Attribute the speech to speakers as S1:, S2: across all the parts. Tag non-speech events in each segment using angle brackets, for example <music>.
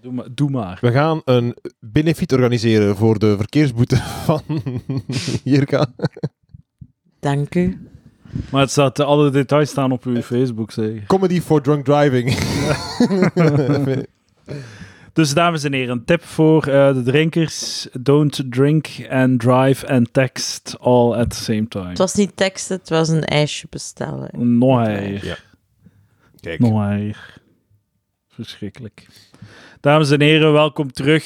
S1: Doe maar. Doe maar.
S2: We gaan een benefiet organiseren voor de verkeersboete <laughs> van Jirka.
S3: Dank u.
S1: Maar het staat, eh, alle details staan op uw Facebook, zeg.
S2: Comedy for drunk driving. <laughs>
S1: Dus dames en heren, een tip voor eh, de drinkers. Don't drink and drive and text all at the same time.
S3: Het was niet teksten, het was een ijsje bestellen.
S1: Nog erger.
S2: Ja. Kijk,
S1: Nog erger. Verschrikkelijk. Dames en heren, welkom terug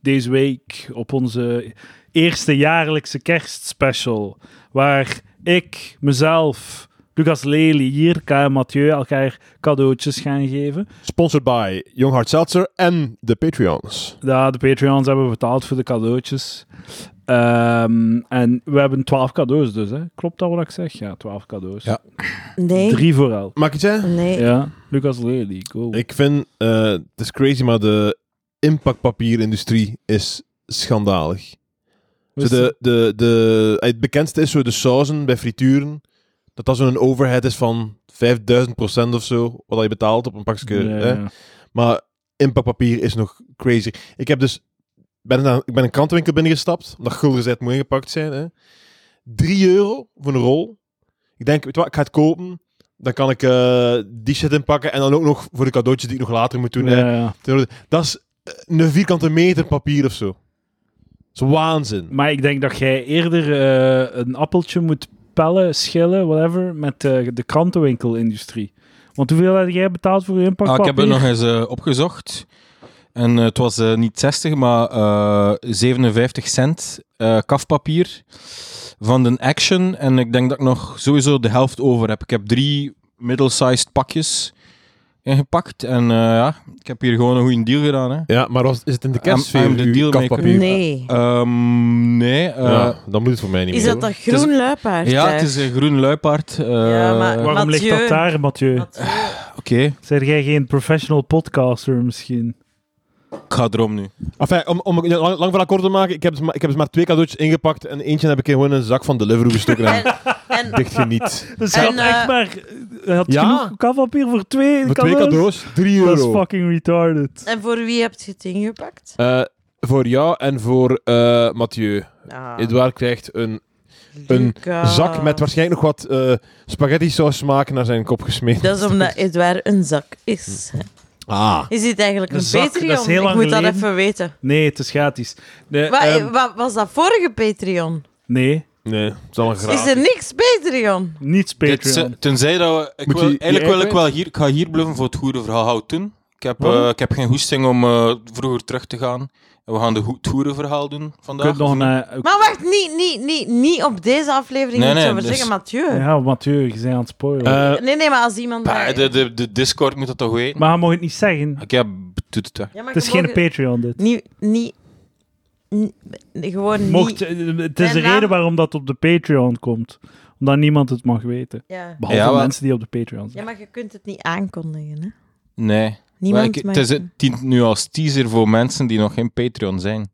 S1: deze week op onze eerste jaarlijkse kerstspecial. Waar ik, mezelf, Lucas Lely, Jirka en Mathieu elkaar cadeautjes gaan geven.
S2: sponsored by Young Hard Seltzer en de Patreons.
S1: Ja, de Patreons hebben betaald voor de cadeautjes. Ehm, en we hebben 12 cadeaus dus, hè? Klopt dat wat ik zeg? Ja, 12 cadeaus.
S2: Ja.
S3: Nee,
S1: Drie voor elk.
S2: Mag ik iets zeggen?
S3: nee.
S1: Ja, Lucas Lely, cool.
S2: Ik vind, eh, het is crazy, maar de impactpapierindustrie is schandalig.
S1: Hoe is
S2: Zo
S1: het?
S2: de, de, de, eh, het bekendste is zo de sauzen bij frituren. Dat dat zo'n overhead is van 5000% of zo. Wat je betaalt op een pakje.
S1: Ja,
S2: hè.
S1: ja.
S2: Maar inpakpapier is nog crazy. Ik heb dus ben naar, ik ben een krantenwinkel binnengestapt, omdat gulders uit moet ingepakt zijn. Hè. 3 euro voor een rol. Ik denk, weet je wat, ik ga het kopen. Dan kan ik eh, die shit inpakken en dan ook nog voor de cadeautjes die ik nog later moet doen. hè.
S1: Ja, ja.
S2: Dat is eh, een vierkante meter papier of zo. Dat is waanzin.
S1: Maar ik denk dat jij eerder eh, een appeltje moet pellen, schillen, whatever, met eh, de krantenwinkelindustrie. Want hoeveel heb jij betaald voor je
S4: Ah, ik
S1: inpakpapier?
S4: heb het nog eens eh, opgezocht. En eh, het was eh, niet 60, maar eh, 57 cent eh, kafpapier van de Action. En ik denk dat ik nog sowieso de helft over heb. Ik heb drie middle-sized pakjes ingepakt. En eh, ja, ik heb hier gewoon een goede deal gedaan. Hè.
S2: Ja, maar was, is het in de
S4: I'm- I'm
S2: kerstsfeer?
S4: the
S2: uw
S4: dealmaker.
S2: kafpapier?
S3: Nee.
S4: ah, Ehm, nee. eh,
S2: ja, dan moet het voor mij niet
S3: Is
S2: meer.
S3: dat dat
S4: Het
S3: groen luipaard?
S4: ja,
S3: daar?
S4: het is een groen luipaard. eh,
S3: Ja, maar-
S4: Oké.
S1: Waarom ligt dat
S3: Mathieu.
S1: daar, Mathieu?
S3: Wat- eh,
S1: Zijn jij geen professional podcaster misschien?
S4: Ik ga erom nu.
S2: Enfin, om, om lang, lang verhaal kort te maken, ik heb, dus maar, ik heb dus maar twee cadeautjes ingepakt en eentje heb ik in gewoon in een zak van Deliveroo gestoken
S3: <laughs>
S2: en
S3: En, en
S2: dicht geniet.
S1: Dus je
S3: En,
S1: had echt
S3: eh,
S1: maar... Je had
S2: ja.
S1: genoeg kafpapier voor twee
S2: Voor twee cadeaus, 3
S1: Dat is
S2: euro.
S1: fucking retarded.
S3: en voor wie heb je het ingepakt?
S2: Eh, voor jou en voor eh, Mathieu.
S3: Ah,
S2: Edouard krijgt een een
S3: Luca.
S2: zak met waarschijnlijk nog wat eh spaghetti saus smaak naar zijn kop gesmeten.
S3: Dat is omdat Edouard een zak is.
S2: Ah.
S3: Is dit eigenlijk
S1: Een
S3: een,
S1: zak,
S3: Patreon?
S1: dat is heel lang
S3: ik moet dat
S1: geleden.
S3: even weten.
S1: Nee, het is gratis. Nee,
S3: Wa-
S1: ehm,
S3: eh, wa- was dat vorige Patreon?
S1: nee
S2: Nee, het is allemaal graag.
S3: Is er niks Patreon?
S1: niets
S4: Dit,
S1: Patreon.
S4: eh, tenzij dat we... Ik
S2: Moet
S4: wil,
S2: die- die
S4: eigenlijk wil ik
S2: eigen-
S4: wel hier... Ik ga hier blijven voor het goede verhaal houden doen. Ik heb,
S1: Waarom?
S4: eh, ik heb geen hoesting om eh, vroeger terug te gaan. En we gaan de goe- het goede verhaal doen
S1: Je
S4: vandaag.
S1: kunt nog eh,
S4: of niet?
S1: naar...
S3: Maar wacht, niet, niet, niet, niet op deze aflevering
S4: Nee,
S3: iets
S4: nee,
S3: over
S4: dus-
S3: zeggen, Mathieu.
S1: Ja, Mathieu, je bent aan het spoilen.
S2: Eh,
S3: Nee, nee, maar als iemand...
S4: Bah,
S3: daar-
S4: de, de, de Discord moet dat toch weten?
S1: maar je mag het niet zeggen.
S4: Oké, ja, b- doet het weg.
S3: Ja, maar
S1: Het is
S3: je
S1: geen
S3: mag-
S1: Patreon, dit.
S3: Niet... niet n- gewoon
S1: Mocht,
S3: niet...
S1: eh, het is de
S3: Mijn naam-
S1: reden waarom dat op de Patreon komt. Omdat niemand het mag weten.
S3: Ja.
S1: Behalve
S4: Ja, maar-
S1: mensen die op de Patreon
S3: ja,
S1: zijn.
S3: maar je kunt het niet aankondigen, hè.
S4: Nee. Maar
S3: Niemand
S4: ik-
S3: mag-
S4: het is het dient nu als teaser voor mensen die nog geen Patreon zijn.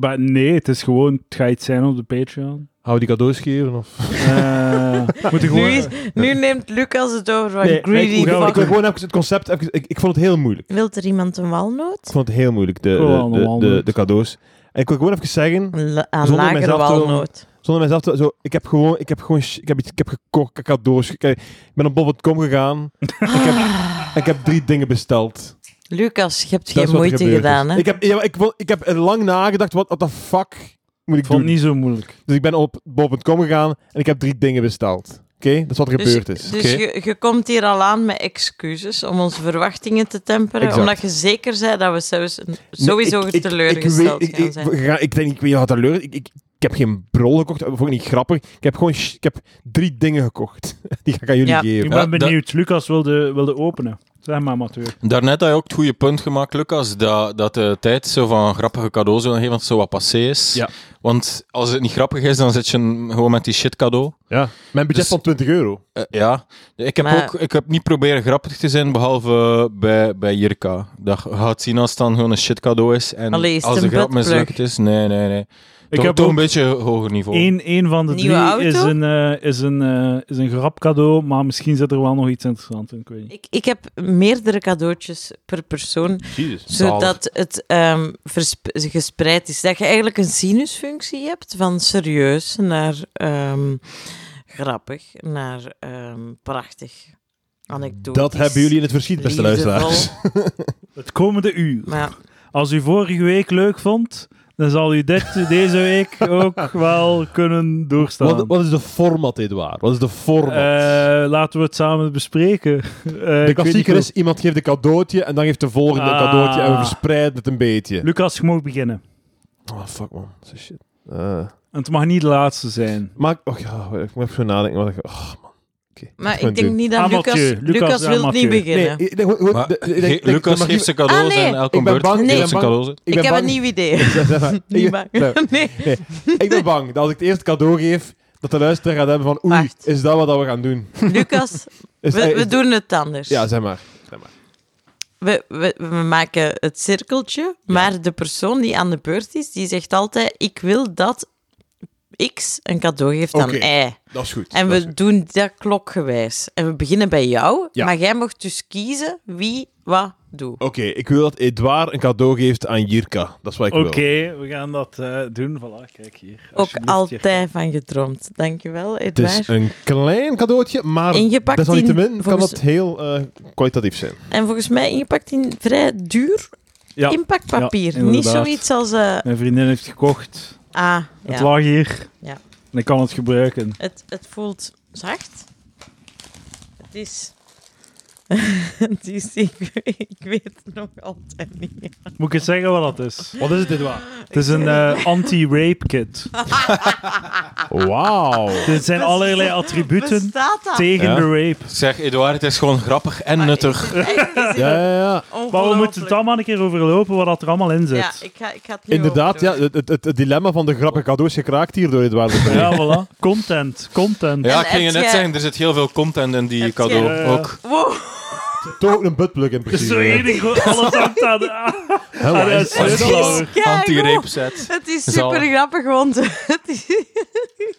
S1: Maar nee, het is gewoon... Het gaat iets zijn op de Patreon.
S2: Hou die cadeaus geven? Of?
S1: Eh, moet je
S3: <laughs> Nu,
S1: gewoon...
S3: is- nu neemt Lucas het over van
S2: ik,
S3: greedy
S2: ik, wil- ik wil
S3: fucker.
S2: gewoon even het concept. even- ik, ik vond het heel moeilijk.
S3: Wilt er iemand een walnoot?
S2: Ik vond het heel moeilijk, de,
S1: Oh,
S2: de, de,
S1: allemaal
S2: de,
S1: goed.
S2: de cadeaus. En ik wil gewoon even zeggen,
S3: Een la- een
S2: Zonder
S3: lagere
S2: mezelf te-
S3: walnoot.
S2: Zonder mezelf te... Zo, ik heb gewoon... Ik heb gewoon... sh- Ik heb, iets, ik heb gekocht, ik had doos... Ik, ik ben op bol.com gegaan en ik heb
S3: <laughs>
S2: drie dingen besteld.
S3: Ah. Lucas, je hebt
S2: Dat is
S3: geen
S2: wat er
S3: moeite
S2: gebeurd is.
S3: gedaan, hè?
S2: Ik heb, ja, maar ik, wil- ik heb er lang nagedacht, wat de fuck moet ik
S1: Ik vond
S2: doen?
S1: het niet zo moeilijk.
S2: Dus ik ben op bol.com gegaan en ik heb drie dingen besteld. Oké? Dat is wat er gebeurd is.
S3: Dus
S2: Oké?
S3: je, je komt hier al aan met excuses om onze verwachtingen te temperen,
S2: Exact.
S3: omdat je zeker zei dat we zelfs-
S2: Nee,
S3: sowieso
S2: ik- ik-
S3: teleurgesteld
S2: ik, weet-
S3: gaan
S2: ik,
S3: zijn.
S2: Ik, ik, ik denk, ik weet niet wat teleur... Ik, ik, ik heb geen brol gekocht, dat vond ik niet grappig. Ik heb gewoon... sh- Ik heb drie dingen gekocht. <laughs> Die ga ik aan jullie
S3: Ja.
S1: Ik
S2: geven.
S1: ben
S4: Ja, dat-
S1: benieuwd. Lucas wilde, wilde openen. Zeg maar, Mathieu.
S4: Daarnet had je ook het goede punt gemaakt, Lucas, dat, dat de tijd zo van grappige cadeaus wil geven, dat het zo wat passé is.
S2: Ja.
S4: Want als het niet grappig is, dan zit je gewoon met die shit cadeau.
S2: Ja. Mijn budget
S4: Dus-
S2: van 20 euro.
S4: Eh, ja, ik heb,
S3: Maar-
S4: ook, ik heb niet proberen grappig te zijn, behalve eh, bij, bij Jirka. Dat je gaat zien als het dan gewoon een shit cadeau is. En
S3: Allee, is het
S4: als de
S3: een
S4: grap
S3: buttplug?
S4: mislukt is, nee, nee, nee.
S1: Ik
S4: toch,
S1: heb
S4: toch
S1: ook
S4: een beetje hoger niveau.
S1: één één van de
S3: Nieuwe
S1: drie
S3: auto?
S1: is een, eh, is, een, eh, is een grap cadeau, maar misschien zit er wel nog iets interessants in. Ik weet niet.
S3: Ik, ik heb meerdere cadeautjes per persoon,
S2: Jezus.
S3: zodat het ehm, versp- gespreid is. Dat je eigenlijk een sinusfunctie hebt van serieus naar ehm, grappig, naar ehm, prachtig, anekdotisch.
S2: Dat hebben jullie in het verschiet, beste
S3: liefdevol.
S2: luisteraars.
S1: Het komende uur.
S3: Maar
S1: Als u vorige week leuk vond, dan zal u
S3: <laughs>
S1: dit, deze week ook wel kunnen doorstaan.
S2: Wat, wat is de format, Edouard? Wat is de format?
S1: Eh, laten we het samen bespreken. <laughs> Eh, ik weet
S2: de
S1: niet
S2: klassieker
S1: hoe-
S2: is, iemand geeft een cadeautje en dan geeft de volgende een
S1: Ah.
S2: cadeautje en we verspreiden het een beetje.
S1: Lucas, je mag beginnen.
S2: Oh, fuck man. Dat is shit. Eh,
S1: En het mag niet de laatste zijn.
S2: maar, oh, ja, ik moet even zo nadenken. Wat ik, oh, man. Oké, wat
S3: maar
S2: gaan
S3: ik
S2: we
S3: denk
S2: doen?
S3: niet dat
S1: Amateur.
S3: Lucas...
S1: Lucas
S3: Lucas
S1: is
S3: wil
S1: amateur.
S3: niet
S2: Nee,
S3: beginnen.
S2: ik- ik- ik- ik-
S4: Maar
S2: ik- ik-
S4: Ge-
S2: ik-
S4: Lucas
S2: ik-
S4: geeft zijn cadeaus
S3: Ah, nee.
S4: en Elke
S2: Ik ben
S4: Beurt
S2: bang-
S3: Nee.
S4: geeft zijn cadeaus.
S2: ik
S3: Ik,
S2: ben
S3: heb
S2: bang-
S3: een nieuw idee.
S2: Zeg, zeg maar,
S3: <laughs> Niet
S2: <laughs> ik-
S3: bang.
S2: nee,
S3: <laughs> Nee.
S2: Ik ben bang dat als ik het eerste cadeau geef, dat de luisteraar gaat hebben van oei,
S3: Wacht.
S2: is dat wat dat we gaan doen?
S3: Lucas,
S2: Is,
S3: we,
S2: eh, is-
S3: we doen het anders.
S2: Ja, zeg maar.
S3: We, we, we maken het cirkeltje, maar de persoon die aan de beurt is, die zegt altijd: Ik wil dat X een cadeau geeft aan
S2: Oké.
S3: Y.
S2: Dat is goed.
S3: En
S2: dat is
S3: we
S2: goed.
S3: doen dat klokgewijs. En we beginnen bij jou,
S2: Ja.
S3: maar jij mag dus kiezen wie wat doet.
S2: Oké, ik wil dat Edouard een cadeau geeft aan Jirka. Dat is wat ik
S1: Oké,
S2: wil.
S1: we gaan dat eh, doen. Voilà, kijk hier.
S3: Ook
S1: Alsjeblieft,
S3: altijd van gedroomd. Dankjewel,
S2: Het is
S3: Edouard.
S2: een klein cadeautje, maar
S3: Ingepakt in-
S2: desalniettemin kan
S3: volgens-
S2: dat heel eh, kwalitatief zijn.
S3: En volgens mij ingepakt in vrij duur
S1: Jirka. Ja,
S3: inpakpapier.
S1: Ja,
S3: Niet
S1: inderdaad.
S3: zoiets als. eh
S1: mijn vriendin heeft gekocht.
S3: ah,
S1: Het
S3: ja.
S1: lag hier.
S3: Ja.
S1: En ik kan het gebruiken.
S3: Het, het voelt zacht. Het is. <laughs> het is ik, ik weet het nog altijd niet.
S1: Moet ik het zeggen wat dat is?
S2: Wat is het, Edouard?
S1: Het is een eh, anti-rape kit.
S3: Ah.
S1: Ah,
S2: Wauw.
S1: Dit zijn allerlei attributen
S3: Bestaat dat?
S1: tegen
S2: Ja.
S1: de rape.
S4: Zeg, Eduard, het is gewoon grappig en
S3: Maar
S4: nuttig.
S3: ik- echt, ik zit
S2: Ja, ja, ja.
S1: Maar we moeten
S3: ongelooflijk.
S1: het allemaal een keer overlopen wat dat er allemaal in
S3: Ja,
S1: zit.
S3: ik ga, ik ga het nu
S2: Inderdaad, ja,
S3: overdoen.
S2: het, het, het dilemma van de grappige cadeaus is geraakt hier door Edouard. de Pre.
S1: Ja, voilà. Content, content.
S4: Ja,
S3: En
S4: ik ging je
S3: heb
S4: net
S3: jij-
S4: zeggen, er zit heel veel content in die
S3: Heb
S4: cadeau.
S1: jij-
S4: Ook.
S3: Wow.
S2: Toch ook een buttplug in
S1: Het is
S2: principe.
S1: zo één ding, gewoon alles hangt aan Ah. de...
S2: Hè,
S1: aan
S2: waar
S1: de
S2: is- waar is-
S3: Jezus.
S1: sleutel.
S3: Kijk,
S4: Anti-rape set.
S3: Het is
S4: Zal.
S3: super grappig, want <laughs> het is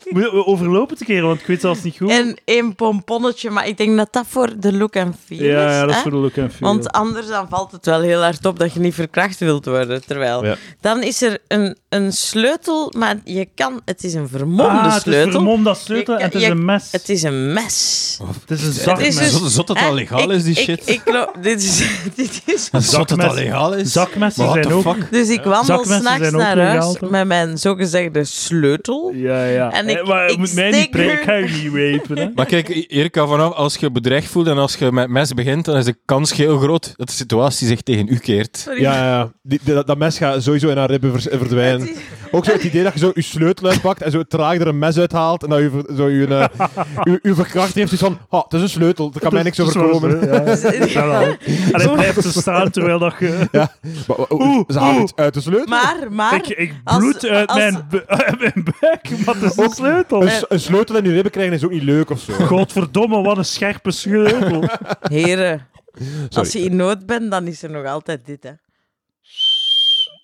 S1: Moet- We overlopen het een keer, want ik weet zelfs niet goed.
S3: en één pomponnetje, maar ik denk dat dat voor de look en feel is.
S1: ja, ja, dat is
S3: hè?
S1: voor de look en feel. Ah,
S3: Want anders dan valt het wel heel hard op dat je niet verkracht wilt worden. Terwijl
S2: Ja.
S3: dan is er een, een sleutel, maar je kan, het is een vermomde
S1: ah, het is
S3: sleutel.
S1: vermomd als sleutel
S3: Je-
S1: en het is
S3: je-
S1: een mes.
S3: het is een mes.
S1: Het is een zakmes.
S3: is een-
S4: Zot, zot dat
S3: Dus- Hè?
S4: al legaal is, die
S3: Ik-
S4: shit.
S3: Ik, ik, loop- <laughs> dit is, dit is,
S4: Zot dat al
S1: zakmes.
S4: legaal is.
S1: Zakmessen
S4: What the
S1: zijn ook...
S4: fuck?
S3: dus ik wandel
S1: Zakmessen
S3: s'nachts
S1: zijn ook
S3: naar
S1: legaal,
S3: huis
S1: toch?
S3: met mijn zogezegde sleutel.
S1: Ja, ja.
S3: En
S1: Eh,
S3: ik-
S1: maar je
S3: ik
S1: moet mij
S3: steek
S1: niet prikken,
S3: er-
S1: ik ga je niet rapen. Hè.
S4: Maar kijk, Erika, vanaf als je bedreigd voelt en als je met mes begint, dan is de kans heel groot dat de situatie zich tegen u keert.
S3: Sorry.
S2: Ja, ja, ja. Die- die- dat, dat mes gaat sowieso in haar ribben vers-
S3: Het
S2: verdwijnen.
S3: is-
S2: Ook zo het idee dat je zo je sleutel uitpakt en zo traag er een mes uithaalt en dat je, ver- zo je, eh,
S1: <laughs>
S2: je, je verkracht heeft iets van, ah, het is een sleutel, daar kan mij
S1: Dus
S2: niks over komen.
S1: Ja, ja. En hij blijft te staan terwijl dat je...
S2: Maar- maar-
S1: Oeh,
S2: Ze haalt
S1: oeh.
S2: iets uit de sleutel.
S3: <laughs> Maar, maar,
S1: Ik, ik
S3: als-
S1: bloed uit,
S3: als-
S1: mijn, bu- uit mijn buik, maar het is een
S2: Ook-
S1: sleutel.
S2: Een, s- een sleutel in je ribben krijgen is ook niet leuk of zo.
S1: Godverdomme, wat een scherpe sleutel.
S3: heren, als je
S2: Sorry.
S3: in nood bent, dan is er nog altijd dit, hè.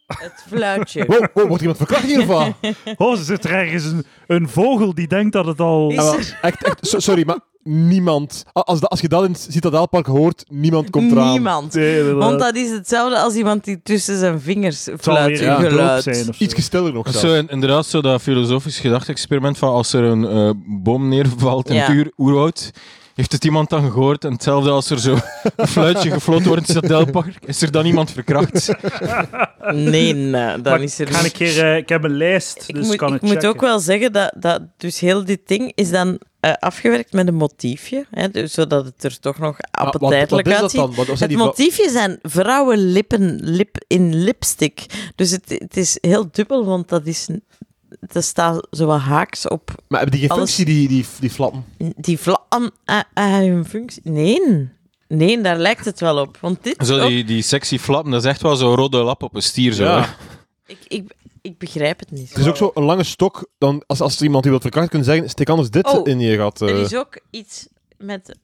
S3: Het fluitje.
S2: Wow, wow, wordt iemand verkracht <laughs> hiervan?
S1: Oh, zit er ergens een, een vogel die denkt dat het al...
S3: Is- er-
S2: Ah, echt, echt, so- sorry, maar niemand. a- Als, dat- als je dat in het Citadelpark hoort, niemand komt eraan.
S3: Niemand.
S1: Nee, inderdaad.
S3: Want dat is hetzelfde als iemand die tussen zijn vingers
S1: Het zal
S3: fluit
S1: weer
S2: Ja.
S1: een doop
S3: geluid.
S1: zijn of zo.
S2: Iets stiller nog
S4: Dat is
S2: zelfs.
S4: zo, in- inderdaad zo dat filosofisch gedachte-experiment van als er een eh, boom neervalt in
S3: Ja.
S4: het uur, oerwoud, heeft het iemand dan gehoord? En hetzelfde als er zo <laughs> een fluitje gefloten wordt in het Citadelpark, is er dan iemand verkracht?
S1: <laughs>
S3: Nee, nee, dan
S1: Maar
S3: is er
S1: ik, ga een keer, eh, ik heb een lijst,
S3: Ik,
S1: dus
S3: moet,
S1: kan
S3: ik
S1: het
S3: moet
S1: checken.
S3: ook wel zeggen dat, dat dus heel dit ding is dan eh, afgewerkt met een motiefje, hè, dus zodat het er toch nog
S2: Ah, wat- wat
S3: appetijtelijk
S2: is dat
S3: uitziet.
S2: dan? Wat- wat zijn
S3: Het
S2: die va-
S3: motiefje zijn vrouwenlippen lip in lipstick. Dus het, het is heel dubbel, want dat is... Dat staat zo wat haaks op
S2: Maar hebben die geen
S3: Alles-
S2: functie, die, die, die flappen?
S3: die vlam aan, aan hun functie. Nee. Nee, daar lijkt het wel op. Want dit
S4: Zo
S3: ook-
S4: die, die sexy flappen, dat is echt wel zo'n rode lap op een stier. Zo,
S2: Ja.
S4: hè.
S3: ik, ik, ik begrijp het niet.
S4: Dus,
S2: Het is ook zo een lange stok. Dan, als, als er iemand die wil Oh.
S4: eh,
S2: eh, verkrachten, kunnen zeggen: steek anders dit
S3: Oh,
S2: in je gat. eh.
S3: Er is ook iets met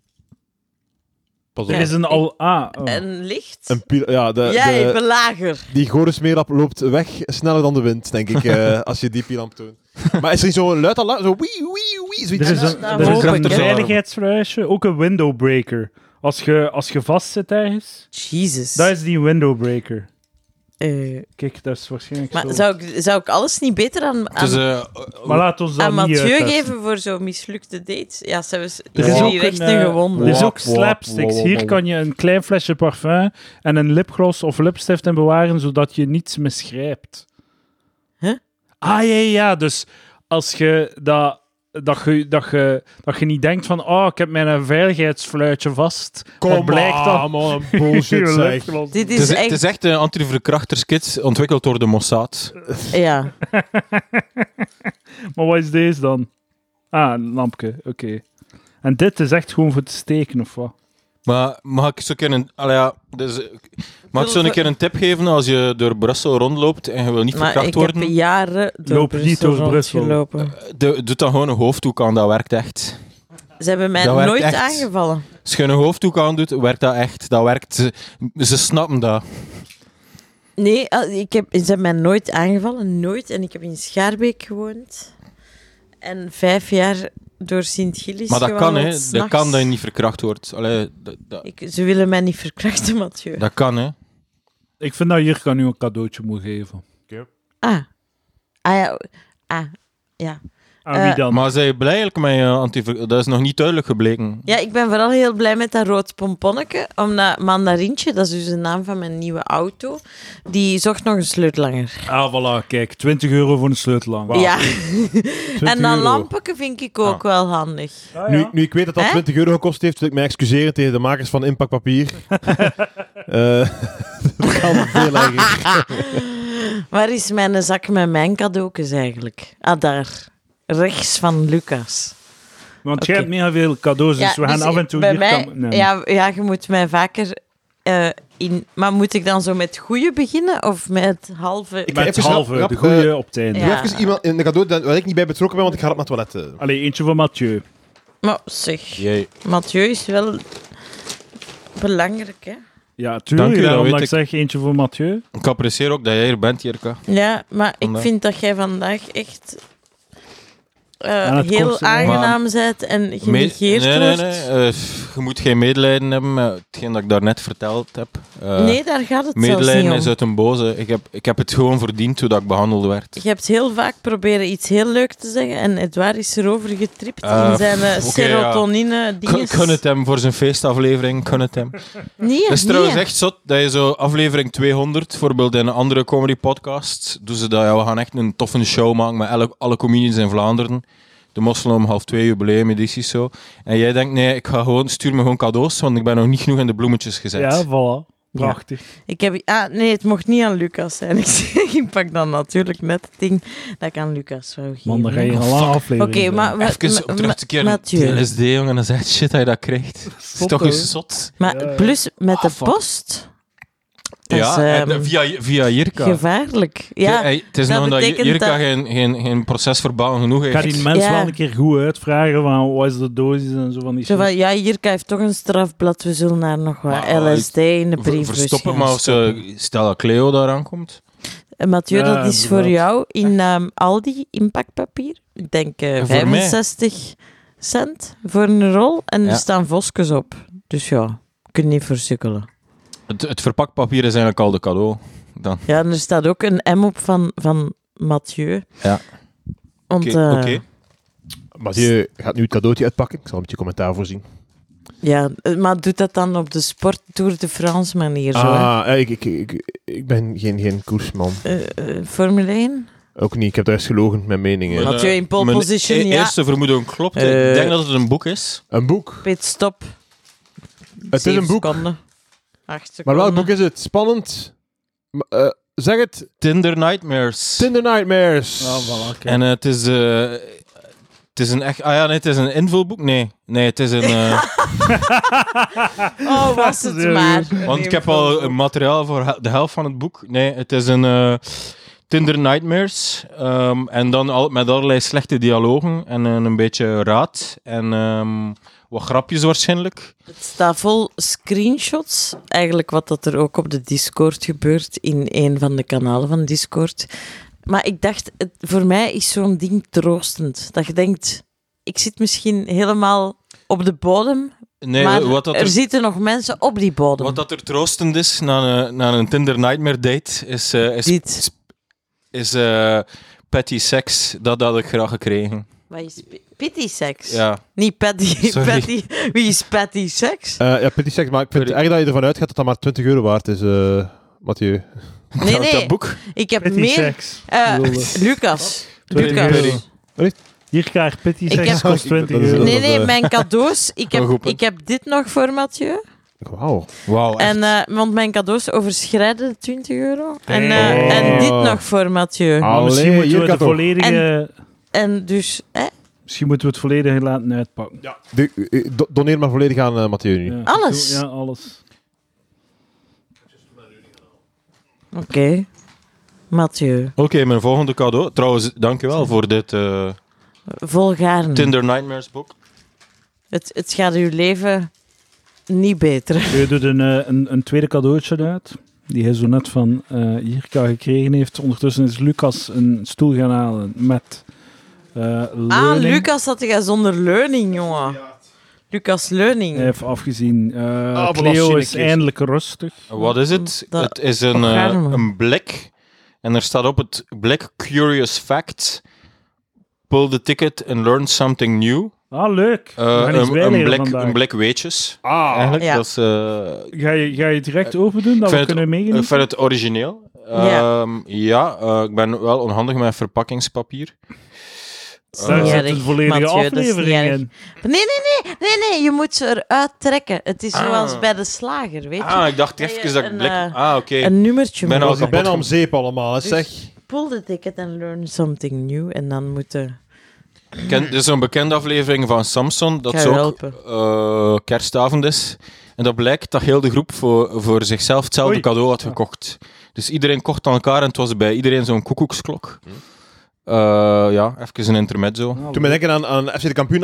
S2: Pas op.
S1: Er is een al... Ah, oh.
S3: En licht?
S2: Een piel- ja,
S4: eh,
S2: de,
S3: ja,
S2: de-
S3: ik ben lager.
S2: die gore smeerlap loopt weg sneller dan de wind, denk ik, <laughs> eh, als je die pilamp toont. Maar is er niet zo'n luid alarm? Zo wee, wee, wee, zoiets.
S1: Er is een,
S3: daar
S1: er is
S3: hoop ik,
S1: een
S3: hè.
S1: veiligheidsvuistje, ook een windowbreaker. Als je, als je vast zit ergens,
S3: Jezus.
S1: dat is die windowbreaker.
S3: Eh,
S1: Kijk, dat is waarschijnlijk
S3: maar
S1: zo.
S3: zou ik, zou ik alles niet beter aan, aan,
S4: Het is, eh,
S1: Maar laat ons dat
S3: aan
S1: niet
S3: Mathieu
S1: uittesten.
S3: geven voor zo'n mislukte dates? Ja, ze hebben
S1: Er
S4: is
S3: is
S4: ook
S3: hier echt
S1: een, eh,
S3: gewonden.
S1: Er is
S4: Wap,
S1: ook
S4: wap,
S1: slapsticks.
S4: wap,
S1: Hier
S4: wap.
S1: kan je een klein flesje parfum en een lipgloss of lipstift in bewaren, zodat je niets misgrijpt.
S3: Huh?
S1: Ah, ja, ja, ja. Dus als je dat... Dat je, dat, je, dat je niet denkt van, oh, ik heb mijn veiligheidsfluitje vast. Wat blijkt dan?
S2: man, bullshit
S1: Je
S2: zeg.
S1: lipgloss.
S3: Dit
S4: het
S3: is
S4: is,
S3: echt...
S4: het is echt een anti-verkrachterskit ontwikkeld door de Mossad.
S3: Ja.
S1: <laughs> Maar wat is deze dan? Ah, een lampje, oké. En dit is echt gewoon voor te steken, of wat?
S4: Maar mag ik zo een keer een, allee, ja, dus, eh, mag ik zo een keer een tip geven als je door Brussel rondloopt en je wil niet
S3: Maar
S4: verkracht
S3: ik
S4: worden?
S3: heb jaren door
S1: Loop niet
S3: Brussel
S1: door Brussel.
S3: rondgelopen.
S4: Doe- Doe dan gewoon een hoofddoek aan, dat werkt echt.
S3: Ze hebben mij
S4: Dat werkt
S3: nooit
S4: echt.
S3: aangevallen.
S4: Als je een hoofddoek aan doet, werkt dat echt. Dat werkt. Ze, ze snappen dat.
S3: Nee, al- ik heb, ze hebben mij nooit aangevallen. Nooit. En ik heb in Schaarbeek gewoond. En vijf jaar door Sint-Gilles
S4: Maar dat kan, hè.
S3: gewandeld,
S4: Dat
S3: s'nachts.
S4: kan dat je niet verkracht wordt. Allee, dat, dat,
S3: Ik, ze willen mij niet verkrachten, Mathieu.
S4: dat kan, hè.
S1: Ik vind dat Jirka nu een cadeautje moet geven.
S3: Ah. Ah ja. Ah. Ja.
S1: Aan wie
S3: Eh,
S1: dan?
S4: Maar zij blij eigenlijk met je anti Dat is nog niet duidelijk gebleken.
S3: ja, ik ben vooral heel blij met dat rood pomponnetje. Omdat Mandarintje, dat is dus de naam van mijn nieuwe auto, die zocht nog een sleutelanger.
S1: Ah, voilà, kijk. 20 euro voor een sleutel
S4: <laughs>
S3: Ja. en dat
S2: euro.
S3: lampetje vind ik ook
S4: Ah.
S3: wel handig.
S2: Nu, nu ik weet dat dat
S3: Hè?
S2: 20 euro gekost heeft, wil ik mij excuseren tegen de makers van Impactpapier. Eh <laughs> dat kan veel <laughs> erger.
S3: Waar is mijn zak met mijn cadeautjes eigenlijk? Ah, daar. Rechts van Lucas.
S1: Want
S3: Oké.
S1: jij hebt mega veel cadeaus, dus we gaan
S3: dus
S1: af en toe
S3: bij
S1: hier
S3: mij,
S1: kan- nee.
S3: ja, ja, je moet mij vaker eh, in... Maar moet ik dan zo met goede beginnen of met halve...
S2: Ik-
S1: Met
S2: Even
S1: het
S2: snel,
S1: halve,
S2: rap,
S1: de goede
S4: eh,
S1: op het einde.
S3: Ja.
S2: Doe even iemand in de cadeau dat- waar ik niet bij betrokken ben, want ik ga op mijn toilet. eh.
S1: Allee, eentje voor Mathieu.
S3: Maar zeg,
S4: Jee.
S3: Mathieu is wel belangrijk, hè?
S1: Ja, tuurlijk.
S4: Dank u, dat
S1: daarom
S4: weet
S1: dat ik
S4: ik.
S1: zeg eentje voor Mathieu.
S4: Ik apprecieer ook dat jij hier bent, Jirka.
S3: Ja, maar ik
S4: Vandaar.
S3: vind dat jij vandaag echt eh,
S1: Aan het
S3: heel
S1: kortste-
S3: aangenaam bent en
S4: Me-
S3: genegeerd
S4: nee, nee,
S3: wordt.
S4: nee. Eh, je moet geen medelijden hebben met hetgeen dat ik daarnet verteld heb. Eh,
S3: Nee, daar gaat het zelfs niet
S4: medelijden
S3: om.
S4: is uit een boze. Ik heb, ik heb het gewoon verdiend hoe dat ik behandeld werd.
S3: Je hebt heel vaak proberen iets heel leuk te zeggen en Edouard is erover getript
S4: Eh,
S3: in zijn eh,
S4: pff, oké, ja.
S3: serotonine
S4: Ik gun-
S3: dinges.
S4: gun het hem voor zijn feestaflevering. Ik Gun het hem.
S3: Nee,
S4: Het is
S3: nee.
S4: trouwens echt zot dat je zo aflevering 200, bijvoorbeeld in een andere comedy podcast, doen ze dat. Ja, we gaan echt een toffe show maken met alle, alle comedians in Vlaanderen. De mosselen om half twee jubileumedities zo. En jij denkt, nee, ik ga gewoon, stuur me gewoon cadeaus, want ik ben nog niet genoeg in de bloemetjes gezet.
S1: Ja, voilà. Prachtig.
S3: Ik heb... Ah, nee, het mocht niet aan Lucas zijn. <laughs> Ik, zeg, ik pak dan natuurlijk net het ding dat ik aan Lucas zou geven.
S1: Man, dan ga je een
S4: Oh,
S1: lange
S4: fuck.
S1: aflevering
S3: Oké,
S1: doen.
S3: maar... wat-
S4: Even op
S3: ma-
S4: terug te keren naar
S3: Mathieu.
S4: LSD, jongen, en dan zegt shit dat je dat krijgt. Het is
S1: Zot,
S4: toch
S1: hè?
S4: eens zot.
S3: Maar
S1: Ja, ja.
S3: plus met
S4: Ah,
S3: de
S4: fuck.
S3: post... Dat
S4: ja,
S3: is,
S4: en,
S3: ehm,
S4: eh, via, via Jirka.
S3: Gevaarlijk. Ja,
S4: Hey, het is
S3: dat
S4: nog dat Jirka
S3: betekent dat-
S4: geen, geen, geen procesverbaal genoeg
S1: Ik
S4: heeft.
S1: ga die mensen
S3: Ja.
S1: wel een keer goed uitvragen van wat is de dosis en zo van die
S3: zo
S1: shit.
S3: van, ja, Jirka heeft toch een strafblad. We zullen daar nog wat
S4: Maar, eh,
S3: LSD in de
S4: Ver-
S3: briefbus
S4: Verstoppen,
S3: gaan
S4: maar als, eh,
S3: stoppen.
S4: stel dat Cleo daar aankomt.
S3: En Mathieu,
S1: Ja,
S3: dat is voor
S1: inderdaad.
S3: jou in ehm, Aldi inpakpapier. Ik denk eh,
S4: En voor mij?
S3: 65 cent voor een rol. En
S4: Ja.
S3: er staan voskes op. Dus ja, kun je niet versukkelen.
S4: Het, het verpakpapier is eigenlijk al de cadeau. Dan.
S3: Ja, en er staat ook een M op van, van Mathieu.
S4: Ja.
S3: Want,
S4: Oké.
S3: eh,
S4: oké.
S2: Mathieu gaat nu het cadeautje uitpakken. Ik zal met je commentaar voorzien.
S3: Ja, eh, maar doet dat dan op de sport Tour de France manier zo? hè?
S2: Ah, eh, ik, ik, ik, ik ben geen, geen koersman.
S3: Eh, eh, Formule 1?
S2: Ook niet. Ik heb daar eens gelogen met mijn meningen.
S3: Maar- Mathieu in pole
S4: Mijn
S3: position,
S4: e-
S3: ja.
S4: eerste vermoeden klopt.
S3: Eh.
S4: Ik denk dat het een boek is.
S2: Een boek.
S3: Pitstop.
S2: Het is
S3: Zeven
S2: een boek.
S3: Seconden. Acht
S2: Maar
S3: seconden.
S2: welk boek is het? Spannend. Ma- eh, zeg het.
S4: Tinder Nightmares.
S2: Tinder Nightmares.
S1: Ah, voilà, kijk.
S4: En eh, het is... eh, het is een echt... Ah ja, nee, het is een invulboek? Nee. Nee, het is een...
S3: <laughs>
S4: eh,
S3: Oh, was het
S1: Serieus?
S3: <laughs> maar.
S4: want ik heb al een materiaal voor he- de helft van het boek. Nee, het is een... eh, Tinder Nightmares. eh, ehm, en dan al, met allerlei slechte dialogen en een, een beetje raad. En ehm, Wat grapjes waarschijnlijk.
S3: Het staat vol screenshots, eigenlijk wat dat er ook op de Discord gebeurt, in een van de kanalen van Discord. Maar ik dacht, het, voor mij is zo'n ding troostend. Dat je denkt, ik zit misschien helemaal op de bodem,
S4: Nee,
S3: maar
S4: wat dat
S3: er,
S4: er,
S3: zitten nog mensen op die bodem.
S4: wat dat er troostend is na een, na een Tinder Nightmare date, is, eh, is,
S3: Dit.
S4: is, eh, petty sex. Dat had ik graag gekregen.
S3: Wat is pi- Pitty seks?
S4: Ja.
S3: Niet patty,
S4: <laughs> Sorry.
S3: patty. Wie is patty seks?
S2: Eh, ja, Petit Sex, maar ik vind
S4: Sorry.
S2: eigenlijk dat je ervan uitgaat dat dat maar 20 euro waard is, eh Mathieu.
S3: Nee,
S4: Dat- Dat
S3: nee.
S4: boek.
S3: Ik heb
S1: Petty
S3: meer...
S1: seks.
S3: Eh,
S1: Ik bedoel,
S3: Lucas.
S1: €20
S3: Lucas.
S1: euro. Hier krijg je petty seks,
S3: heb-
S1: kost 20
S2: Dat is-
S1: euro.
S3: Nee, nee,
S2: eh,
S3: mijn cadeaus. Ik
S4: Wel goed
S3: heb,
S4: punt.
S3: ik heb dit nog voor Mathieu.
S2: Wauw.
S4: Wauw. echt.
S3: En, eh, want mijn cadeaus overschrijden de 20 euro. En, eh,
S1: Oh.
S3: en dit nog voor Mathieu.
S4: Ah.
S1: Maar misschien
S2: Allee,
S1: moeten we,
S2: Jirka
S1: de
S2: toch.
S1: volledige,
S3: En dus, hè,
S1: misschien moeten we het volledige laten uitpakken.
S2: De- eh, do- doneer maar volledig aan eh, Mathieu nu.
S1: Ja,
S3: Alles?
S1: Ja, alles.
S3: oké. Mathieu,
S4: Oké, mijn volgende cadeau. Trouwens, dankjewel voor dit eh,
S3: Hmm. volgaarne.
S4: Tinder Nightmares boek.
S3: Het, het gaat uw leven niet beter.
S1: Je doet een, eh, een, een tweede cadeautje uit, die hij zo net van eh Jirka gekregen heeft. Ondertussen is Lucas een stoel gaan halen met eh leuning.
S3: Ah, Lucas had jij zonder leuning, jongen. Lucas Leuning.
S1: Hij heeft afgezien. Eh Cleo is
S2: belastzinnigjes.
S1: eindelijk rustig.
S4: Eh, Wat is het?
S3: Dat-
S4: het is een,
S3: Wat
S4: eh,
S3: gaan we?
S4: een blik. En er staat op het blik Curious Facts. Pull the ticket and learn something new.
S1: Ah, leuk.
S4: Eh,
S1: We gaan iets
S4: een,
S1: bijleren
S4: een, blik,
S1: vandaag.
S4: een blik weetjes.
S2: Ah.
S4: Eigenlijk,
S3: Ja.
S4: dat is eh,
S1: Ga je, ga je direct open doen, dat
S4: vind eh,
S1: we
S4: het-
S1: kunnen
S4: Ik
S1: meegenieten?
S4: vind het origineel.
S3: Ja.
S4: Ehm, ja, eh, ik ben wel onhandig met verpakkingspapier.
S1: Daar
S4: eh,
S1: zit
S3: Erg,
S1: een volledige
S3: Mathieu, dat is niet
S1: aflevering
S3: erg.
S1: in.
S3: Nee, nee, nee, nee, nee, je moet ze eruit trekken. Het is
S4: Ah.
S3: zoals bij de slager, weet je.
S4: Ah, ik dacht even
S3: Nee,
S4: dat ik
S3: een,
S4: blik...
S3: eh,
S4: Ah, oké.
S3: Een nummertje
S4: Ben
S3: moet
S4: al
S2: Ik
S3: maken.
S2: ben om zeep allemaal,
S4: Dus
S2: hè, zeg.
S3: Pull the ticket and learn something new. En dan moeten...
S4: Ken- Er is een bekende aflevering van Samson, dat
S3: Kan
S4: ze
S3: je
S4: ook eh, kerstavond is. En dat blijkt dat heel de groep voor, voor zichzelf hetzelfde
S1: Oei.
S4: cadeau had gekocht. Dus iedereen kocht aan elkaar en het was bij iedereen zo'n koekoeksklok. Eh, ja, even een intermezzo.
S2: Toen ben ik aan, aan een FC de Kampioen